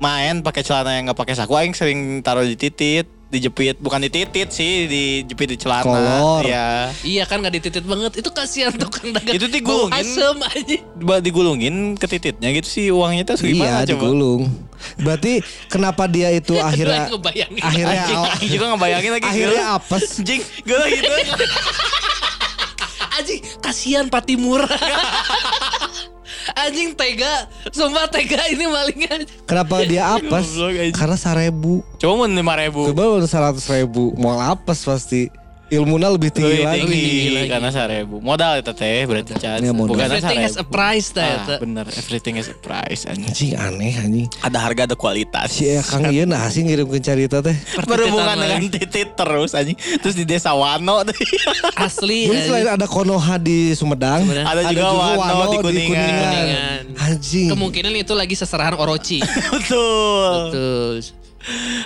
B: main pakai celana yang nggak pakai saku aing sering taruh di titit dijepit bukan di titit sih dijepit di celana
D: Kolor.
B: ya
A: Iya kan gak dititit banget. Itu kasihan tukang dagang.
B: Itu
A: Bau
B: digulungin.
A: Asem aja.
B: Ba- digulungin ke tititnya gitu sih uangnya tuh gimana
D: Iya
B: coba
D: digulung. Berarti kenapa dia itu akhirnya
A: Aduh, ngebayangin.
D: akhirnya
B: Anjing,
D: aw-
B: aing juga ngebayangin lagi
D: akhirnya
B: geulah.
D: apes.
B: anjing gue gitu
A: Anjing kasihan Patimura. Anjing tega, sumpah tega ini malingnya.
D: Kenapa dia apes?
B: Goblok, anjing.
D: Karena sarebu.
B: cuma mau lima ribu
D: Coba udah seratus ribu, mau apes pasti. Ilmunya lebih
B: lebih
D: tinggi lagi.
B: tinggi, Iya,
A: tinggi lagi.
B: karena seribu modal itu teh berarti Chan.
D: Ya, modal.
B: bukan
A: Everything has
B: seribu
A: a price tah
B: ah,
A: eta.
B: bener everything is a price anjing Iya, kan.
D: Anjing aneh anjing.
B: ada harga ada kualitas
D: Si Kang Ian nah sih ngirim ke cerita teh.
A: Pertititan
B: berhubungan dengan titit terus anjing terus di desa Wano tuh.
A: Asli.
D: Jadi selain
A: anjing.
D: ada Konoha di Sumedang,
A: Sumedang.
B: Iya, Ada juga Wano di Kuningan.
A: Kuningan.
D: Anjing.
A: Kemungkinan itu lagi seserahan Orochi.
B: betul
A: Betul.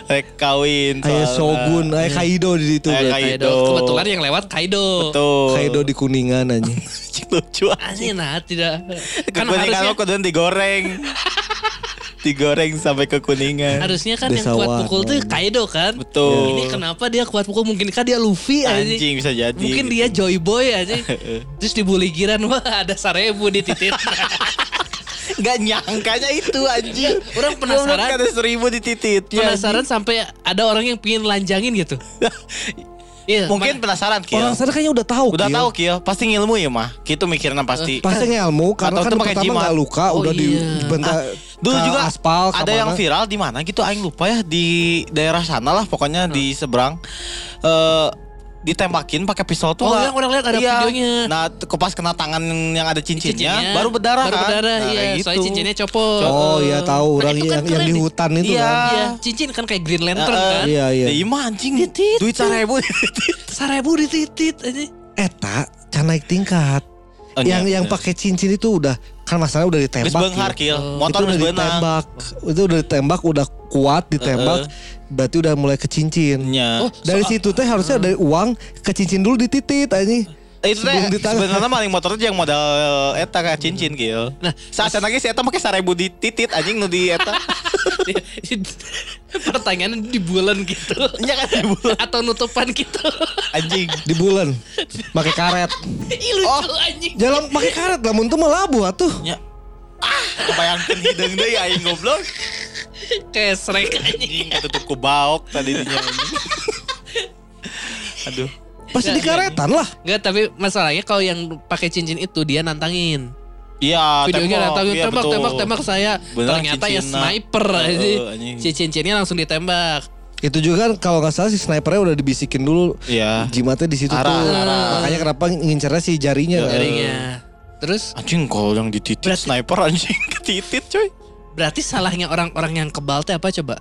B: rek kawin soalnya.
D: Aya Shogun, aya Kaido di situ
B: Aya
D: berarti.
A: Kaido.
B: eh, Kaido.
A: Kebetulan yang lewat Kaido.
B: betul
D: Kaido di Kuningan anjing.
B: Anjing, lucu
A: Anjing nah tidak. Kan
B: kekuningan lo
A: harusnya
B: kudu digoreng digoreng sampai ke kuningan
A: harusnya kan yang
D: Desa
A: kuat
D: Wano.
A: pukul tuh Kaido kan.
B: Betul.
A: Ini kenapa dia kuat pukul? Mungkinkah dia Luffy anjing?
B: anjing bisa jadi gitu.
A: Mungkin dia Joy Boy aja. Terus dibully giran wah ada sarebu di Nah, titit.
B: nggak nyangkanya itu anjing
A: Orang penasaran.
B: Goblok, ada seribu di titiknya
A: Penasaran sampai ada orang yang pingin lanjangin gitu. Iya.
B: mungkin
A: mana-
B: penasaran Kiel
D: Orang sana kayaknya udah tahu.
B: udah
D: Gil.
B: tahu Kiel pasti ngilmu ya mah gitu mikirnya pasti
D: Eh, Pasti ngelmu
B: Atau
D: karena kan
B: tuh pakai
D: pertama
B: jimat. Ah,
D: nggak luka
A: Oh,
D: udah
A: iya.
D: dibentak
B: Dulu
D: ke
B: juga
D: aspal
B: ada
D: kemana.
B: yang viral di mana gitu aing lupa ya di daerah sana lah pokoknya
A: Hmm.
B: di seberang eh ditembakin pakai pistol tuh
A: Oh, iya, orang lihat ada videonya.
B: Nah, t- ke- pas kena tangan yang ada cincinnya,
A: cincinnya,
B: baru berdarah
A: Baru
B: kan.
A: berdarah,
B: Nah,
A: iya.
B: kayak
A: Soalnya cincinnya copot.
D: Oh iya tahu
A: Nah,
D: orang
A: itu kan
D: yang, yang
A: keren
D: di
A: nih.
D: hutan itu
B: Iya.
D: kan.
A: Iya, cincin kan kayak Green Lantern
B: Eh, eh,
A: kan.
D: Iya iya.
B: Ya, iya mah anjing duit seribu
A: Sarebu di titit aja.
D: Eta can Eh, kan naik tingkat.
B: Oh,
D: yang
B: iya,
D: yang
B: bener.
D: pakai cincin itu udah kan masalah udah ditembak.
B: Geus beunghar kill,
D: Gil. Oh. Itu
B: motor
D: udah
B: geus beunang.
D: ditembak. Itu udah ditembak udah kuat ditembak. Berarti udah mulai ke cincin.
B: Nya.
A: Oh,
D: Dari situ teh
B: eh.
D: harusnya dari uang ke cincin dulu dititit anjing.
B: itu teh
D: sebelum ditangkap.
B: sebenarnya maling motor teh yang modal eh, eta kayak cincin kill. Nah, saat lagi si eta make seribu di titit anjing nu di eta.
A: Pertanyaannya di bulan gitu.
B: Nya kan di bulan.
A: Atau nutupan gitu.
B: anjing.
D: di bulan pakai karet.
A: Ih lucu anjing.
D: Jalan pakai karet lah mun teu mah labu atuh.
B: Ya. Ah, kebayangkan hidung deh aing goblok.
A: Kesrek anjing.
B: Anjing ketutup ku baok tadi dinya anjing. Aduh. Iya,
D: Pasti di karetan lah.
A: Enggak, tapi masalahnya kalau yang pakai cincin itu dia nantangin.
B: Iya,
A: Videonya
B: tembok,
A: nantangin
B: iya,
A: tembak,
B: betul.
A: tembak, tembak saya.
B: Beneran
A: Ternyata ya
B: cincinna.
A: sniper aja.
B: Heeh, anjing.
A: Si cincinnya langsung ditembak.
D: Itu juga kan kalau nggak salah si snipernya udah dibisikin dulu.
B: Iya.
D: Jimatnya di situ
B: Arah,
D: tuh.
B: arah. Iya,
D: Makanya kenapa ngincernya si jarinya
B: Eh.
D: kan.
A: Jarinya. Terus
B: Anjing kalau yang dititit
A: Berarti-
B: sniper anjing ketitit coy.
A: berarti salahnya orang-orang yang kebal teh apa coba?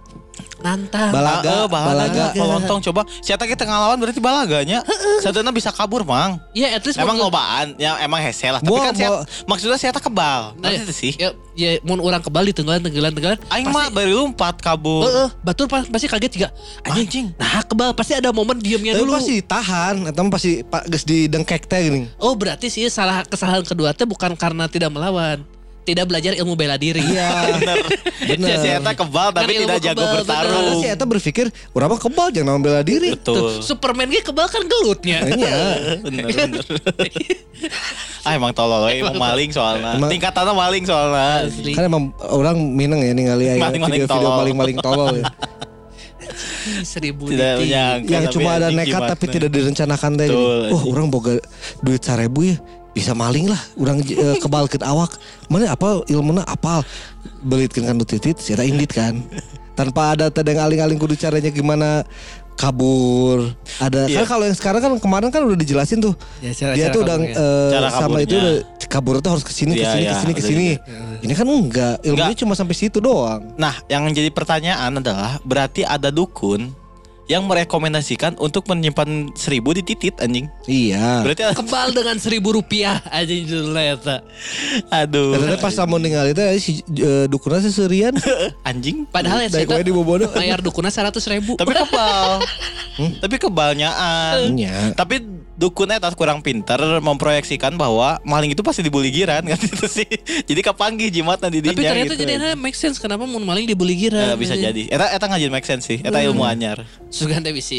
A: Nantang.
D: Balaga,
B: Ah, eh,
D: balaga.
B: Pelontong coba. Siapa kita ngelawan berarti balaganya. Sadana bisa kabur, Mang.
A: Iya, at least
B: Emang
A: waktu-
B: lobaan, ya emang hese lah. Tapi
D: Mau-
B: kan saya,
D: mau-
B: maksudnya saya tak kebal.
D: Iya.
B: Nanti itu sih.
A: Ya, ya mun orang kebal di tenggelan tenggelan tenggelan.
B: Aing mah baru lompat kabur.
A: Heeh, batur pa- pasti kaget juga.
B: Anjing.
A: Anjing. Nah, kebal pasti ada momen diemnya
D: Tapi
A: Iya, dulu.
D: pasti ditahan, atau pasti pak geus didengkek teh gini.
A: Oh, berarti sih salah kesalahan kedua teh bukan karena tidak melawan. Tidak belajar ilmu bela diri.
D: Iya,
B: Ya,
D: bener.
B: si Eta kebal
A: Kan
B: tapi
A: ilmu
B: tidak jago
A: kebal,
B: bertarung.
D: Karena si Eta berpikir, orang mah kebal jangan nama bela diri.
B: Betul.
A: Superman ge kebal kan gelutnya.
D: Iya.
B: Bener, bener. ah emang tolol we, emang maling soalnya.
D: Emang-
B: Tingkatannya maling soalnya.
A: Asli.
D: Kan emang orang mineng ya ningali aya
B: Maling-maling
D: video-video
B: tolol.
D: maling-maling tolol ya.
A: Seribu
B: Tidak
A: detik.
B: menyangka.
D: Yang
B: tapi
D: Ya, cuma ada
B: anjing
D: nekat
B: gimana.
D: tapi tidak direncanakan teh. gini.
B: Betul,
D: Wah, orang boga duit sarebu ya. Bisa maling lah, orang eh, kebalkeun awak. Mana apa ilmuna apal. Belitkeun kan titit, si Eta indit kan. Tanpa ada tedeng aling-aling kudu caranya gimana kabur. Ada
B: Iya.
D: kan kalau yang sekarang kan kemarin kan udah dijelasin tuh.
A: Ya, cara-
D: dia
A: cara
D: tuh udah
A: kaburnya.
D: eh,
B: Cara
D: sama
B: kaburnya.
D: itu udah kabur tuh harus kesini
B: Iya,
D: kesini
B: iya,
D: kesini
B: udah
D: kesini. Ini kan enggak, ilmunya cuma sampai situ doang.
B: Nah, yang jadi pertanyaan adalah berarti ada dukun yang merekomendasikan untuk menyimpan seribu di titit anjing.
D: Iya.
B: Berarti
A: kebal dengan seribu rupiah aja judulnya ya, eta.
B: aduh.
D: Ternyata pas
B: Iya.
D: sama ningali teh si eh, dukunnya si Serian
B: anjing.
A: Padahal ya
D: Daik wae di bobodo.
A: bayar dukunnya seratus ribu.
B: Tapi kebal.
D: Hmm?
B: Tapi kebalnyaan.
A: Hmm.
D: Nya.
B: Tapi dukun eta kurang pinter memproyeksikan bahwa maling itu pasti dibully giran kan itu sih. Jadi kapanggih jimatna di dinya
A: Tapi ternyata
B: gitu.
A: jadi Hmm. nah, make sense kenapa mun maling dibeli
B: Eh,
A: gira.
B: bisa jadi. Eta eta ngajin make sense sih.
A: Hmm.
B: Eta ilmu anyar.
A: Suganda bisa.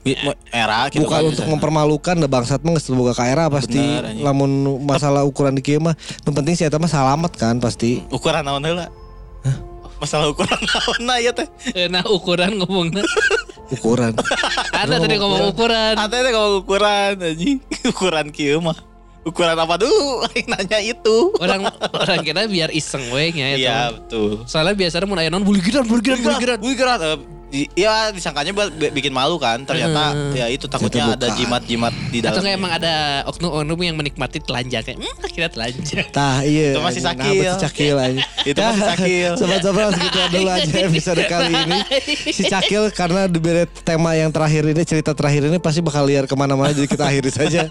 B: Bi- mo- Era gitu kan.
D: Bukan untuk mempermalukan da bangsat mah geus boga kaera ah, pasti.
B: Benar, anjing.
D: Lamun masalah ukuran di kieu mah, nu penting si eta mah salamat kan pasti.
B: ukuran naon heula? Masalah ukuran naon na ieu teh.
A: Nah ukuran ngomongnya.
D: Ukuran.
A: Ada tadi ngomong ukuran.
B: Ate teh kalau ukuran anjing, ukuran kieu mah. Ukuran apa dulu? Aing nanya itu.
A: Orang orang kira biar iseng we nya eta.
B: Iya, betul.
A: Soalnya biasanya mun aya naon bulu giran bulu giran bulu giran.
B: Buigeran. eh, di- Iya, disangkanya buat bi- bikin malu kan. Ternyata ya itu takutnya
D: Ternyata
B: ada
D: bukan.
B: jimat-jimat di dalam.
A: Hmm. Atau nggak emang ada oknum-oknum yang menikmati telanjangnya. Hmm, akhirnya telanjang.
D: Tah iya.
B: Itu masih
D: anjing.
B: sakil.
D: Nah, betul Cakil anjing.
B: Itu masih
D: Nah,
B: sakil.
D: Sobat-sobat segitu dulu aja episode kali ini. Si Cakil karena diberi tema yang terakhir ini cerita terakhir ini pasti bakal liar kemana-mana jadi kita akhiri saja.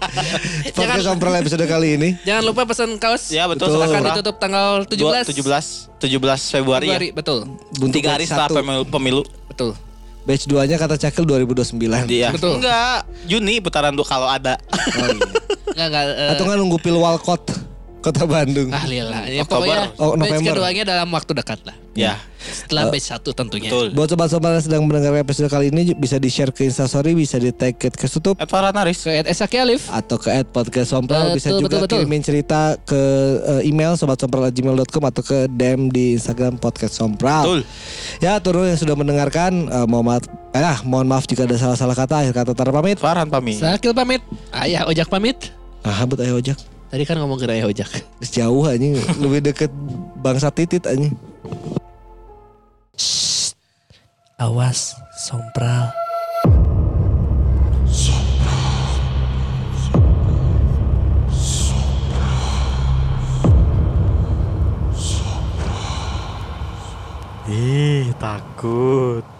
D: Podcast
A: Jangan-
D: Sompral episode kali ini.
A: Jangan lupa pesan kaos.
B: Ya, betul.
A: Akan
B: Sakura.
A: ditutup tanggal 17.
B: 17 17 Februari,
A: Februari, betul.
B: ya.
D: Untuk
B: Tiga hari
D: batch
B: setelah
D: satu.
B: pemilu, pemilu.
A: Betul.
D: Batch 2-nya kata Cakil 2029.
B: Iya.
A: Betul.
B: Enggak, Juni putaran dua kalau ada.
D: Oh, iya.
A: Enggak enggak eh,
D: Atau nggak nunggu pil Walcott Kota Bandung.
A: ah lila. Ya,
B: Oktober.
A: pokoknya
D: Oh,
A: batch
D: November.
A: keduanya dalam waktu dekat lah.
B: ya,
A: Setelah batch satu tentunya.
B: betul.
D: Buat sobat-sobat yang sedang mendengar episode kali ini bisa di-share ke Instastory, bisa di-tag ke Kesutup
B: Eh, para naris.
A: Ke Ed Esaki Alif.
D: atau ke at podcast
A: Betul,
D: sompral bisa juga
A: betul, betul.
D: kirimin cerita ke eh, email sobatsompral@gmail.com atau ke DM di Instagram podcast sompral.
B: Betul.
D: Ya, turun yang sudah mendengarkan eh, mohon maaf eh, ah, mohon maaf jika ada salah-salah kata akhir kata Tara pamit.
B: Farhan pamit.
A: Sakil pamit. Ayah Ojak pamit.
D: Ah, bet ayo ojek.
A: Tadi kan ngomong ke Ayah Ojak.
D: Geus Jauh anjing, lebih deket bangsa titit anjing.
A: Awas, sompral.
B: Ih, takut.